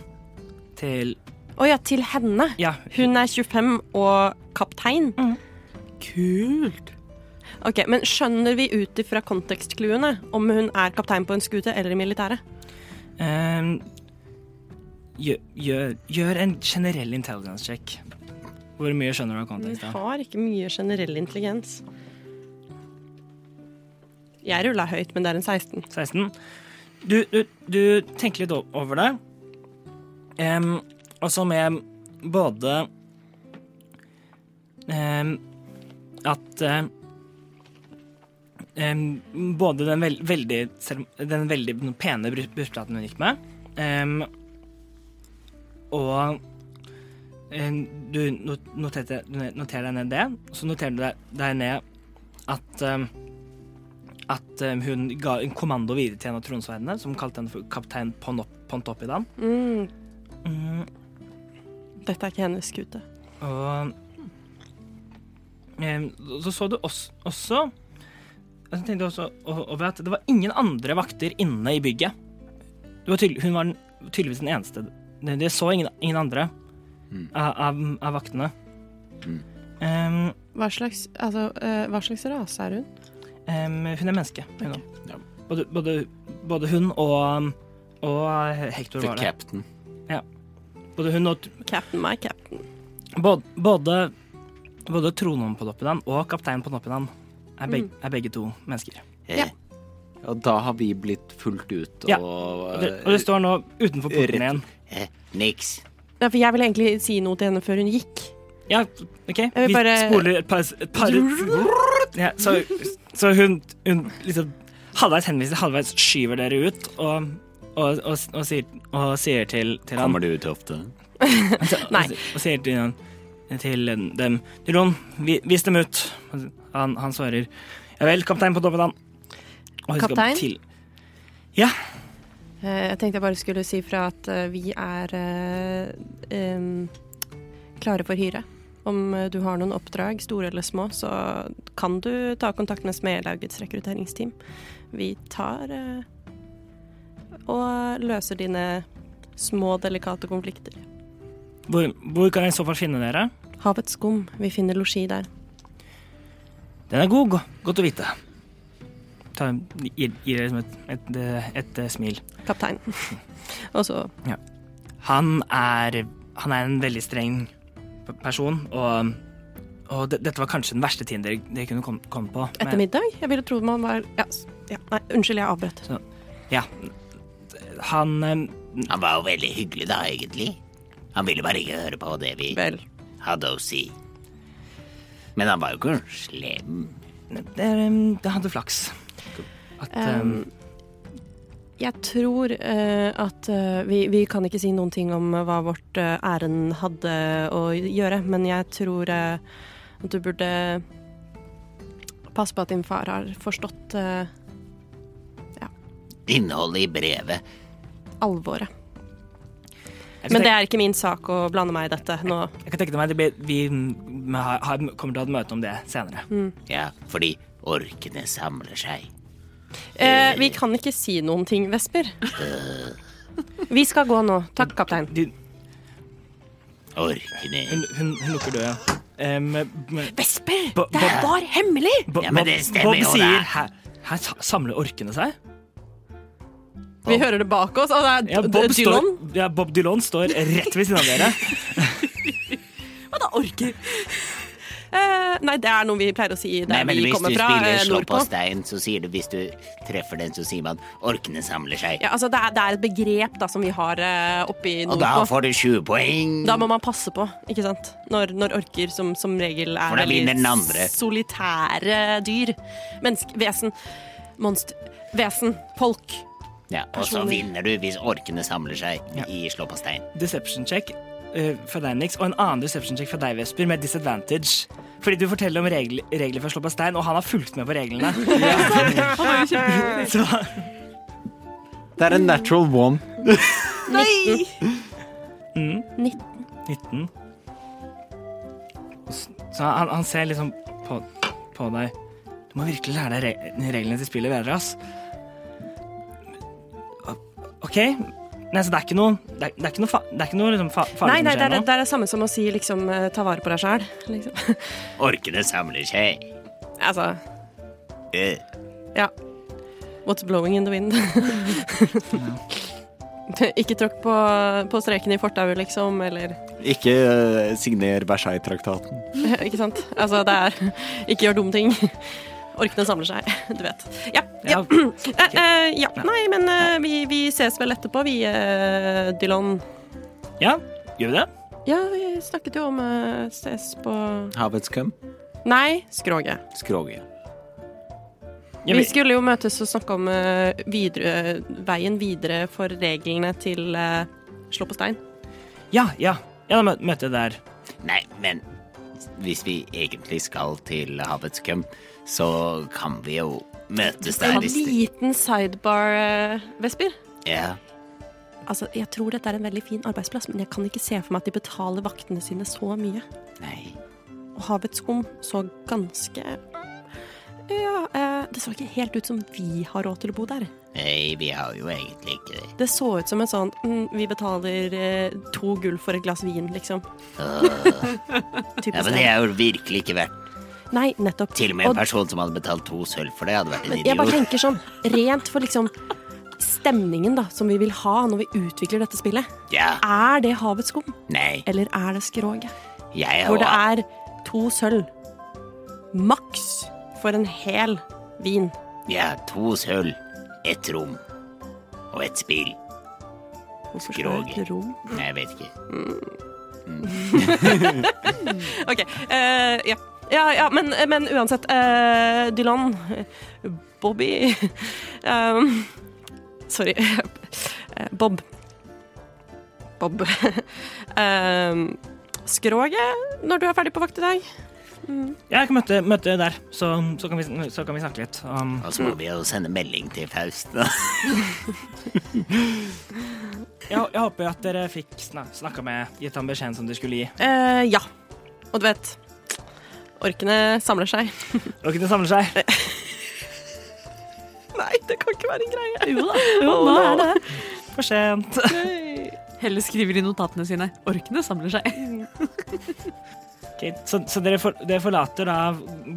[SPEAKER 3] Til
[SPEAKER 5] Å ja, til henne.
[SPEAKER 3] Ja,
[SPEAKER 5] Hun er 25 og kaptein. Mm.
[SPEAKER 4] Kult.
[SPEAKER 5] Ok, Men skjønner vi ut ifra kontekstkluene om hun er kaptein på en skute eller i militæret?
[SPEAKER 3] em, gjør, gjør, gjør en generell intelligence check. Hvor mye skjønner du av
[SPEAKER 5] Hun
[SPEAKER 3] konteksten?
[SPEAKER 5] har ikke mye generell intelligens. Jeg rulla høyt, men det er en 16.
[SPEAKER 3] 16. Du, du, du tenker litt o- over det. Em, og så med både em, At eh, em, Både den, vel, veldig, serem- den veldig pene bry- brystplaten hun gikk med, Em, og em, du not- noterte, du ne- noterer deg ned det, og så noterer du deg- deg ned at em, at em, hun ga en kommando videre til en av tronsverdene, som kalte henne for kaptein Ponop- Pontoppidan.
[SPEAKER 5] Mm,
[SPEAKER 3] Mm,
[SPEAKER 5] dette er ikke hennes skute.
[SPEAKER 3] og em, så så du også, også Jeg tenkte også o- over at det var ingen andre vakter inne i bygget. Det var tydel, hun var den- tydeligvis den eneste. Det, det så ingen, ingen andre av, av, av vaktene. Em,
[SPEAKER 5] Hva slags, altså, eh, hva slags rase er hun?
[SPEAKER 3] em, hun er menneske. Hun
[SPEAKER 5] Ok.
[SPEAKER 3] også.
[SPEAKER 7] Ja.
[SPEAKER 3] både, både, både hun og, og Hector
[SPEAKER 7] The
[SPEAKER 3] var det.
[SPEAKER 7] Captain.
[SPEAKER 3] Både hun og
[SPEAKER 5] Captain, my captain.
[SPEAKER 3] Både, både, både tronen på Noppidan og kapteinen på Noppidan er, beg,
[SPEAKER 5] Mm.
[SPEAKER 3] er begge to mennesker.
[SPEAKER 5] Ja.
[SPEAKER 7] Og da har vi blitt fulgt ut og
[SPEAKER 3] Ja, Og det, og det står nå utenfor porten igjen.
[SPEAKER 6] Eh, niks.
[SPEAKER 5] Ja, for jeg ville egentlig si noe til henne før hun gikk.
[SPEAKER 3] Ja, OK.
[SPEAKER 5] vil
[SPEAKER 3] Vi
[SPEAKER 5] bare-
[SPEAKER 3] spoler et par, et par ja, Så, så hun, hun liksom halvveis henviser, halvveis skyver dere ut og, og, og, og, sier, og sier til, til han
[SPEAKER 7] du ut ofte?
[SPEAKER 3] Nei. Og sier til, han- til dem Til Ron, vi, vis dem ut. Han, han svarer Ja vel, kaptein på Noppidan. Og hun skal
[SPEAKER 5] Kaptein?
[SPEAKER 3] til-
[SPEAKER 5] Eh, Jeg tenkte jeg bare skulle si fra at eh, vi er eh, em, klare for hyre. Om eh, du har noen oppdrag, store eller små, så kan du ta kontakt med Smedlaugets rekrutteringsteam. Vi tar eh, og løser dine små, delikate konflikter.
[SPEAKER 3] Hvor, hvor kan jeg i så fall finne dere?
[SPEAKER 5] Havets skum, vi finner losji der.
[SPEAKER 3] Den er god. go- Godt å vite. Ta, gir, gir dere som et, et, et, eh, smil.
[SPEAKER 5] Kaptein. og så
[SPEAKER 3] Han er, han er en veldig streng p- person, og, og de, dette var kanskje den verste tiden dere, dere kunne komme komme på. men-
[SPEAKER 5] etter middag. Jeg ville trodd man var ja, s- ja, Nei, unnskyld, jeg avbrøt.
[SPEAKER 3] Ja. Han eh,
[SPEAKER 6] Han var jo veldig hyggelig da, egentlig. Han ville bare ikke høre på det vi
[SPEAKER 5] Vel.
[SPEAKER 6] hadde å si. Men han var jo ikke slem.
[SPEAKER 3] det, eh, det hadde flaks. At eh,
[SPEAKER 5] Um, jeg tror eh, at eh, vi, vi kan ikke si noen ting om hva vårt eh, ærend hadde eh, å gjøre, men jeg tror eh, at du burde passe på at din far har forstått eh,
[SPEAKER 6] Innholdet i brevet
[SPEAKER 5] alvoret.
[SPEAKER 3] jeg, kan
[SPEAKER 5] Men det
[SPEAKER 3] tenke,
[SPEAKER 5] er ikke min sak å blande meg i dette nå.
[SPEAKER 3] jeg kan tenke meg at det blir- vi mm, har, har, kommer til å ha et møte om det senere.
[SPEAKER 5] Mm.
[SPEAKER 6] Ja, fordi orkene samler seg.
[SPEAKER 5] Eh, vi kan ikke si noen ting, Vesper. Vi skal gå nå. Takk, kaptein.
[SPEAKER 3] De,
[SPEAKER 6] Orkene
[SPEAKER 3] hun, hun, hun lukker døra. Eh, med- med-
[SPEAKER 5] Vesper!
[SPEAKER 3] Bo-
[SPEAKER 5] Det
[SPEAKER 3] Bob-
[SPEAKER 5] var hemmelig!
[SPEAKER 3] Bo-
[SPEAKER 6] Ja, men
[SPEAKER 3] Bob-
[SPEAKER 6] det stemmer
[SPEAKER 3] Bob
[SPEAKER 6] jo, det.
[SPEAKER 3] sier, Her, her sa- samler orkene seg.
[SPEAKER 5] Vi hører det bak oss, og det
[SPEAKER 3] Ja,
[SPEAKER 5] er
[SPEAKER 3] Bob,
[SPEAKER 5] Dylan.
[SPEAKER 3] Står, ja, Bob Dylan står rett ved siden av dere.
[SPEAKER 4] Hva da, orker?
[SPEAKER 5] Eh, nei, det er noe vi pleier å si der
[SPEAKER 6] Nei, men
[SPEAKER 5] vi
[SPEAKER 6] hvis du
[SPEAKER 5] kommer fra,
[SPEAKER 6] spiller
[SPEAKER 5] eh,
[SPEAKER 6] slå på
[SPEAKER 5] nordpå.
[SPEAKER 6] stein, så sier du Hvis du treffer den, så sier man orkene samler seg.
[SPEAKER 5] Ja, altså det, er, det er et begrep da, som vi har eh, oppe i
[SPEAKER 6] Og da
[SPEAKER 5] nordpå.
[SPEAKER 6] får du 20 poeng.
[SPEAKER 5] Da må man passe på, ikke sant? Når, når orker som, som regel er
[SPEAKER 6] For da vinner den andre.
[SPEAKER 5] solitære dyr. Menneske, vesen, monster, vesen, folk.
[SPEAKER 6] Ja, og så
[SPEAKER 5] personer.
[SPEAKER 6] vinner du hvis orkene samler seg i slå på stein.
[SPEAKER 3] Deception check eh, fra deg, Nix, og en annen deception check fra deg, Vesper, med disadvantage. Fordi du forteller om regl regler for å slå på stein, og han har fulgt med på reglene. Så
[SPEAKER 7] eh, Det er en natural one.
[SPEAKER 3] 19. Så han, han ser liksom på, på deg Du må virkelig lære deg re reglene til spillet bedre, ass. OK? Nei, så det er ikke noe Det er, det er ikke noe, fa det er ikke noe liksom, fa farlig
[SPEAKER 5] Nei,
[SPEAKER 3] som
[SPEAKER 5] nei, det
[SPEAKER 3] skjer
[SPEAKER 5] er det,
[SPEAKER 3] nå?
[SPEAKER 5] er det samme som å si liksom eh, ta vare på deg sjæl. Liksom.
[SPEAKER 6] Orkene samler seg.
[SPEAKER 5] altså, Eh.
[SPEAKER 6] Øh.
[SPEAKER 5] ja. What's blowing in the wind? Ikke tråkk på, på streken i fortauet, liksom, eller
[SPEAKER 7] Ikke eh, signer Versailles-traktaten.
[SPEAKER 5] Ikke sant? Altså, det er Ikke gjør dumme ting. Orkene samler seg, du vet. Ja.
[SPEAKER 3] Ja,
[SPEAKER 5] ja. Eh, eh, ja. Nei, men eh, vi, vi ses vel etterpå, vi, eh, Dylan.
[SPEAKER 3] Ja, gjør vi det?
[SPEAKER 5] Ja, vi snakket jo om eh, ses på
[SPEAKER 7] Havets cum.
[SPEAKER 5] Nei, skroget.
[SPEAKER 7] Skroget.
[SPEAKER 3] Jeg
[SPEAKER 5] Vi
[SPEAKER 3] vet-
[SPEAKER 5] skulle jo møtes og snakke om eh, videre, veien videre for reglene til eh, slå på stein.
[SPEAKER 3] Ja, ja. Ja, da mø- møtte jeg der.
[SPEAKER 6] Nei, men hvis vi egentlig skal til havets køm, så kan vi jo møtes der.
[SPEAKER 5] En
[SPEAKER 6] hvis det-
[SPEAKER 5] liten sidebar, eh, Vesper.
[SPEAKER 6] Ja.
[SPEAKER 5] Altså, jeg tror dette er en veldig fin arbeidsplass, men jeg kan ikke se for meg at de betaler vaktene sine så mye.
[SPEAKER 6] Nei.
[SPEAKER 5] Og havets skum så ganske Ja, eh, det så ikke helt ut som vi har råd til å bo der.
[SPEAKER 6] Nei, vi har jo egentlig ikke det.
[SPEAKER 5] Det så ut som en sånn mm, Vi betaler eh, to gull for et glass vin, liksom. Typisk.
[SPEAKER 6] Ah. Ja, men det er jo virkelig ikke verdt
[SPEAKER 5] Nei, nettopp.
[SPEAKER 6] Til og med en
[SPEAKER 5] Og-
[SPEAKER 6] person som hadde betalt to sølv for det, hadde vært en
[SPEAKER 5] Men jeg bare
[SPEAKER 6] idiot.
[SPEAKER 5] tenker sånn, rent for liksom stemningen da, som vi vil ha når vi utvikler dette spillet.
[SPEAKER 6] Ja,
[SPEAKER 5] Er det havets skum,
[SPEAKER 6] nei,
[SPEAKER 5] eller er det skroget?
[SPEAKER 6] jeg
[SPEAKER 5] Hvor det
[SPEAKER 6] har
[SPEAKER 5] er to sølv. Maks for en hel vin.
[SPEAKER 6] ja, to sølv, ett rom og ett spill.
[SPEAKER 5] Hvorfor skal jeg ha et rom?
[SPEAKER 6] Nei, jeg vet ikke.
[SPEAKER 5] Ok, eh, ja. Ja, ja, men, men uansett. eh, Dylan, eh, Bobby um, Sorry. eh, Bob. Bob. Um, skroget når du er ferdig på vakt i dag.
[SPEAKER 3] Ja, jeg kan møte, møte der, så, så, kan vi, så kan vi snakke litt. Um,
[SPEAKER 6] Og så må vi jo sende melding til Faust. da.
[SPEAKER 3] jeg, jeg håper at dere fikk sna snakka med Gitt ham beskjeden som dere skulle gi.
[SPEAKER 5] Eh, ja. Og du vet Orkene samler seg.
[SPEAKER 3] Dere kunne samle seg.
[SPEAKER 5] Eh. Nei, det kan ikke være en greie. Oh,
[SPEAKER 4] Jo da, jo, nå er det det.
[SPEAKER 3] For sent.
[SPEAKER 4] Helle skriver i notatene sine. Orkene samler seg.
[SPEAKER 3] Ok, så, så dere, for, dere forlater da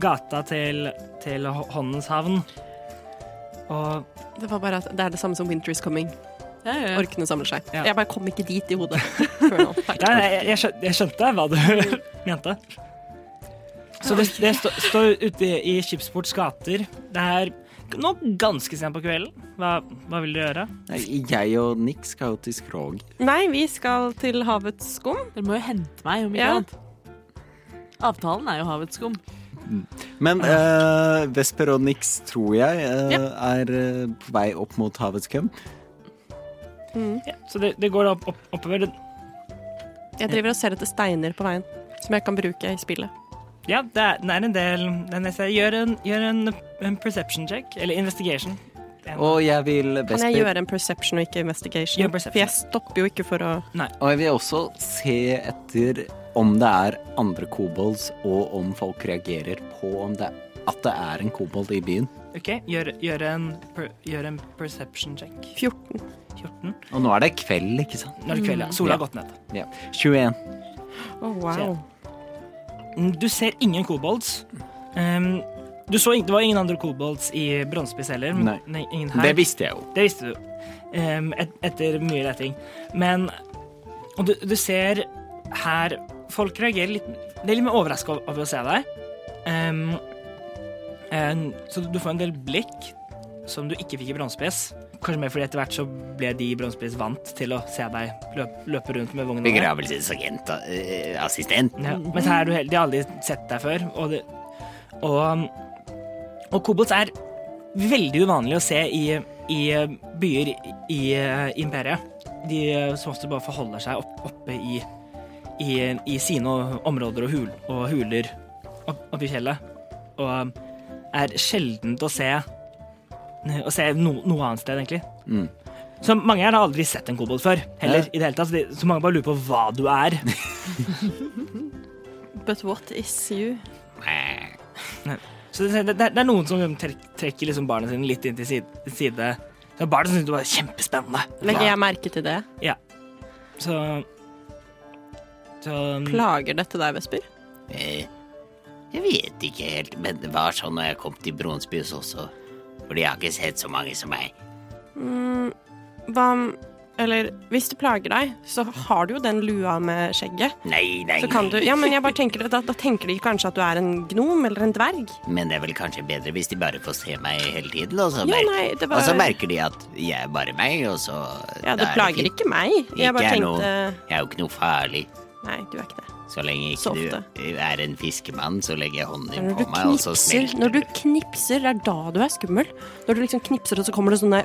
[SPEAKER 3] gata til, til Hå- Håndens havn. Og
[SPEAKER 5] Det var bare at det er det samme som Winter is coming.
[SPEAKER 4] Ja, ja, ja.
[SPEAKER 5] Orkene samler seg.
[SPEAKER 3] Ja.
[SPEAKER 5] Jeg bare kom ikke dit i hodet før nå.
[SPEAKER 3] Nei, nei, jeg, jeg, skjønte, jeg skjønte hva du mente. Så det, det stå- står ute i Skipsports gater. Det er nå ganske sent på kvelden. Hva, hva vil dere gjøre?
[SPEAKER 7] Nei, Jeg og Nick skal jo til Skrog.
[SPEAKER 5] Nei, vi skal til havets skum.
[SPEAKER 4] Dere må jo hente meg, om ikke
[SPEAKER 5] Ja.
[SPEAKER 4] annet. Avtalen er jo havets skum.
[SPEAKER 7] Men eh, Vesper og Nix, tror jeg, eh, er eh, på vei opp mot havets køm.
[SPEAKER 3] Ja, så det, det går da opp, opp, oppover.
[SPEAKER 5] Jeg driver og ser etter steiner på veien som jeg kan bruke i spillet.
[SPEAKER 3] Ja, det er, den er en del den er, Gjør, en, gjør en, en perception check, eller investigation.
[SPEAKER 7] Og jeg vil
[SPEAKER 5] Kan jeg
[SPEAKER 7] Vesper
[SPEAKER 5] gjøre en perception og ikke investigation?
[SPEAKER 3] Gjør perception.
[SPEAKER 5] For jeg stopper jo ikke for å
[SPEAKER 7] Og jeg vil også se etter om det er andre kobolds, og om folk reagerer på om det, at det er en kobold i byen.
[SPEAKER 3] OK, gjør, gjør, en, per, gjør en perception check.
[SPEAKER 5] 14.
[SPEAKER 3] 14.
[SPEAKER 7] Og nå er det kveld, ikke sant?
[SPEAKER 3] Nå er det kveld, ja. Sola har gått ned.
[SPEAKER 7] Ja. 21.
[SPEAKER 5] Å,
[SPEAKER 3] Oh,
[SPEAKER 5] wow.
[SPEAKER 3] Så- Mm, Du ser ingen kobolds. Ehm, du så, ing- det var ingen andre kobolds i Bronsepiss heller. men-
[SPEAKER 7] Nei.
[SPEAKER 3] Nei, ingen her.
[SPEAKER 7] Det visste jeg jo.
[SPEAKER 3] Det visste du. ehm, et, etter mye leting. Men Og du, du ser her Folk reagerer litt De er litt mer overraska over, over å se deg. Ehm, en- så du får en del blikk som du ikke fikk i Bronsepiss. Kanskje mer fordi etter hvert så ble de i Bronsepiss vant til å se deg løpe, løpe rundt med vogna. der.
[SPEAKER 6] Begravelsesagent, eh, assistent.
[SPEAKER 3] Ja, men så er du heldig, de har aldri sett deg før. Og, det, og, og kobolds er veldig uvanlig å se i, i byer i eh, imperiet. De eh, som ofte bare forholder seg opp, oppe i, i, i sine områder og, hul, og huler opp, oppi fjellet. Og um, er sjeldent å se, å se no, noe annet sted, egentlig.
[SPEAKER 7] Mm.
[SPEAKER 3] Så mange her har aldri sett en kobold før, heller.
[SPEAKER 7] Ja.
[SPEAKER 3] i det hele tatt. Så de- Så mange bare lurer på hva du er.
[SPEAKER 5] But what is you?
[SPEAKER 3] Så det, det, det er noen som trek- trekker liksom barna sine litt inn til side. side. Det er barna som syns det var kjempespennende.
[SPEAKER 5] Legger jeg merke til det?
[SPEAKER 3] Så, så
[SPEAKER 5] Plager dette deg, Vesper?
[SPEAKER 6] Eh, Jeg vet ikke helt, men det var sånn når jeg kom til Bronsbys også. Fordi jeg har ikke sett så mange som meg.
[SPEAKER 5] Mm, hva om Eller hvis det plager deg, så har du jo den lua med skjegget.
[SPEAKER 6] Nei, nei,
[SPEAKER 5] Så kan du
[SPEAKER 6] nei.
[SPEAKER 5] Ja, men jeg bare tenker det, da, da tenker de kanskje at du er en gnom eller en dverg.
[SPEAKER 6] Men det er vel kanskje bedre hvis de bare får se meg hele tiden, og så,
[SPEAKER 5] Ja,
[SPEAKER 6] merker,
[SPEAKER 5] nei, det
[SPEAKER 6] og så
[SPEAKER 5] var
[SPEAKER 6] merker de at jeg er bare meg, og så
[SPEAKER 5] Ja,
[SPEAKER 6] da
[SPEAKER 5] det
[SPEAKER 6] er
[SPEAKER 5] plager
[SPEAKER 6] fint.
[SPEAKER 5] ikke meg. Jeg
[SPEAKER 6] Ikke
[SPEAKER 5] bare
[SPEAKER 6] er
[SPEAKER 5] tenkte
[SPEAKER 6] noe- Jeg er jo ikke noe farlig.
[SPEAKER 5] Nei, du er ikke det.
[SPEAKER 6] Så lenge
[SPEAKER 5] Så
[SPEAKER 6] ikke du er en fiskemann, så legger jeg altså hånden
[SPEAKER 5] Det er Når
[SPEAKER 6] din på
[SPEAKER 5] du,
[SPEAKER 6] meg, og så
[SPEAKER 5] knipser,
[SPEAKER 6] smelter
[SPEAKER 5] når du knipser, det er da du er skummel. Når du liksom knipser, og så kommer det sånne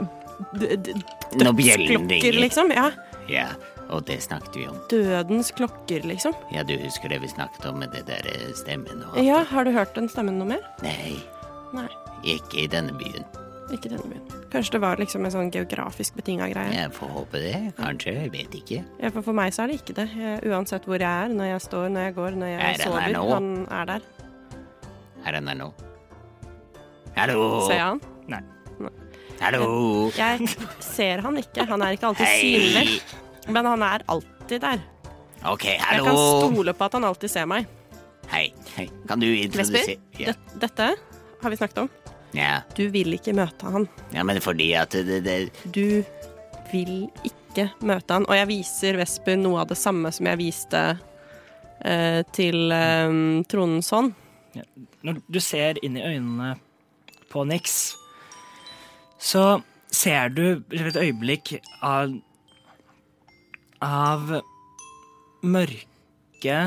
[SPEAKER 5] d- d-
[SPEAKER 6] Når bjellen
[SPEAKER 5] dødsklokker,
[SPEAKER 6] ringer.
[SPEAKER 5] liksom. Ja,
[SPEAKER 6] Ja, og det snakket vi om.
[SPEAKER 5] dødens klokker, liksom.
[SPEAKER 6] Ja, du husker det vi snakket om med det der eh, stemmen og
[SPEAKER 5] Ja, har du hørt den stemmen noe mer?
[SPEAKER 6] Nei,
[SPEAKER 5] Nei,
[SPEAKER 6] ikke i denne byen.
[SPEAKER 5] ikke denne byen. Kanskje det var liksom en sånn geografisk betinga greie.
[SPEAKER 6] Jeg får håpe det. Kanskje. Jeg vet ikke.
[SPEAKER 5] Ja, for for meg så er det ikke det. Jeg, uansett hvor jeg er, når jeg står, når jeg går, når jeg
[SPEAKER 6] Er han
[SPEAKER 5] sover.
[SPEAKER 6] her nå?
[SPEAKER 5] Han er der.
[SPEAKER 6] Er han der nå? Hallo?
[SPEAKER 5] Ser jeg han?
[SPEAKER 6] Hallo?
[SPEAKER 5] Jeg ser han ikke. Han er ikke alltid synlig,
[SPEAKER 6] Hei!
[SPEAKER 5] men han er alltid der.
[SPEAKER 6] OK,
[SPEAKER 5] Jeg kan
[SPEAKER 6] hallo?
[SPEAKER 5] stole på at han alltid ser meg.
[SPEAKER 6] Hei. Hei. Kan du introdusere ja.
[SPEAKER 5] Det- Dette har vi snakket om.
[SPEAKER 6] ja.
[SPEAKER 5] Du vil ikke møte han.
[SPEAKER 6] ja, men fordi at det, det
[SPEAKER 5] Du vil ikke møte han. Og jeg viser Vesper noe av det samme som jeg viste eh, til eh, Trondens hånd.
[SPEAKER 3] Når du ser inn i øynene på Nix, så ser du et øyeblikk av Av mørke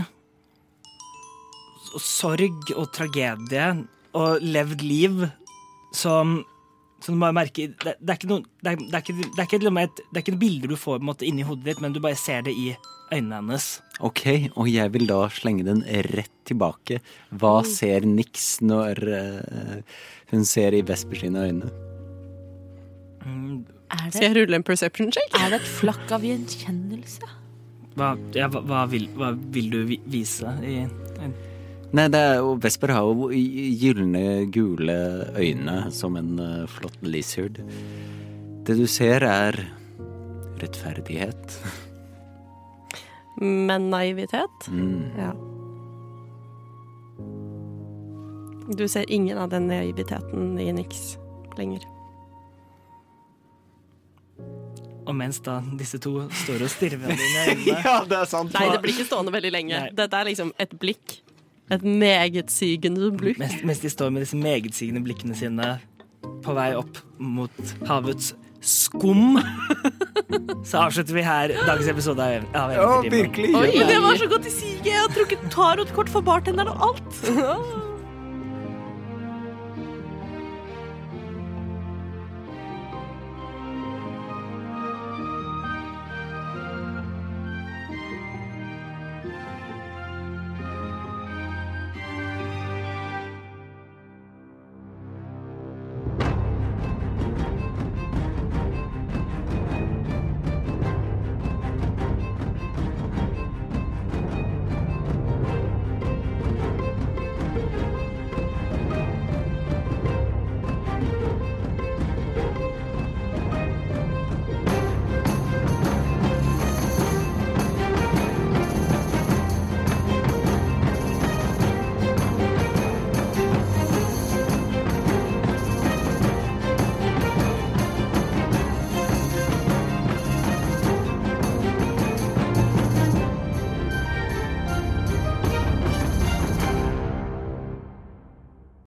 [SPEAKER 3] og sorg og tragedie og levd liv som som du bare merker, det, det er ikke noe det er, det er ikke, det er ikke, liksom et, det er ikke et bilde du får på en måte inni hodet ditt, men du bare ser det i øynene hennes.
[SPEAKER 7] Ok, og jeg vil da slenge den rett tilbake. Hva
[SPEAKER 5] Mm.
[SPEAKER 7] ser Nix når eh, hun ser i Vesper sine øyne?
[SPEAKER 4] Er
[SPEAKER 5] Skal
[SPEAKER 4] det,
[SPEAKER 5] jeg rulle en perception check?
[SPEAKER 4] er det et flakk av gjenkjennelse?
[SPEAKER 3] Hva, ja, hva, hva, vil, hva vil du vi- vise i
[SPEAKER 7] Nei, det er jo, Vesper har jo gylne, gule øyne som en eh, flott lizard. Det du ser, er rettferdighet.
[SPEAKER 5] Men naivitet?
[SPEAKER 7] Mm.
[SPEAKER 5] Ja. Du ser ingen av den naiviteten i Nix lenger.
[SPEAKER 3] Og mens da disse to står og stirrer hverandre i øynene
[SPEAKER 7] Ja, det er sant!
[SPEAKER 5] Nei, det blir ikke stående veldig lenge.
[SPEAKER 3] Nei.
[SPEAKER 5] Dette er liksom et blikk. Et megetsigende blikk.
[SPEAKER 3] mens, mens de står med disse megetsigende blikkene sine på vei opp mot havets skum, så avslutter vi her dagens episode av av Eventyrtimen.
[SPEAKER 7] virkelig!
[SPEAKER 4] Men det var så godt i siget! Jeg har trukket tarotkort for bartenderen og alt.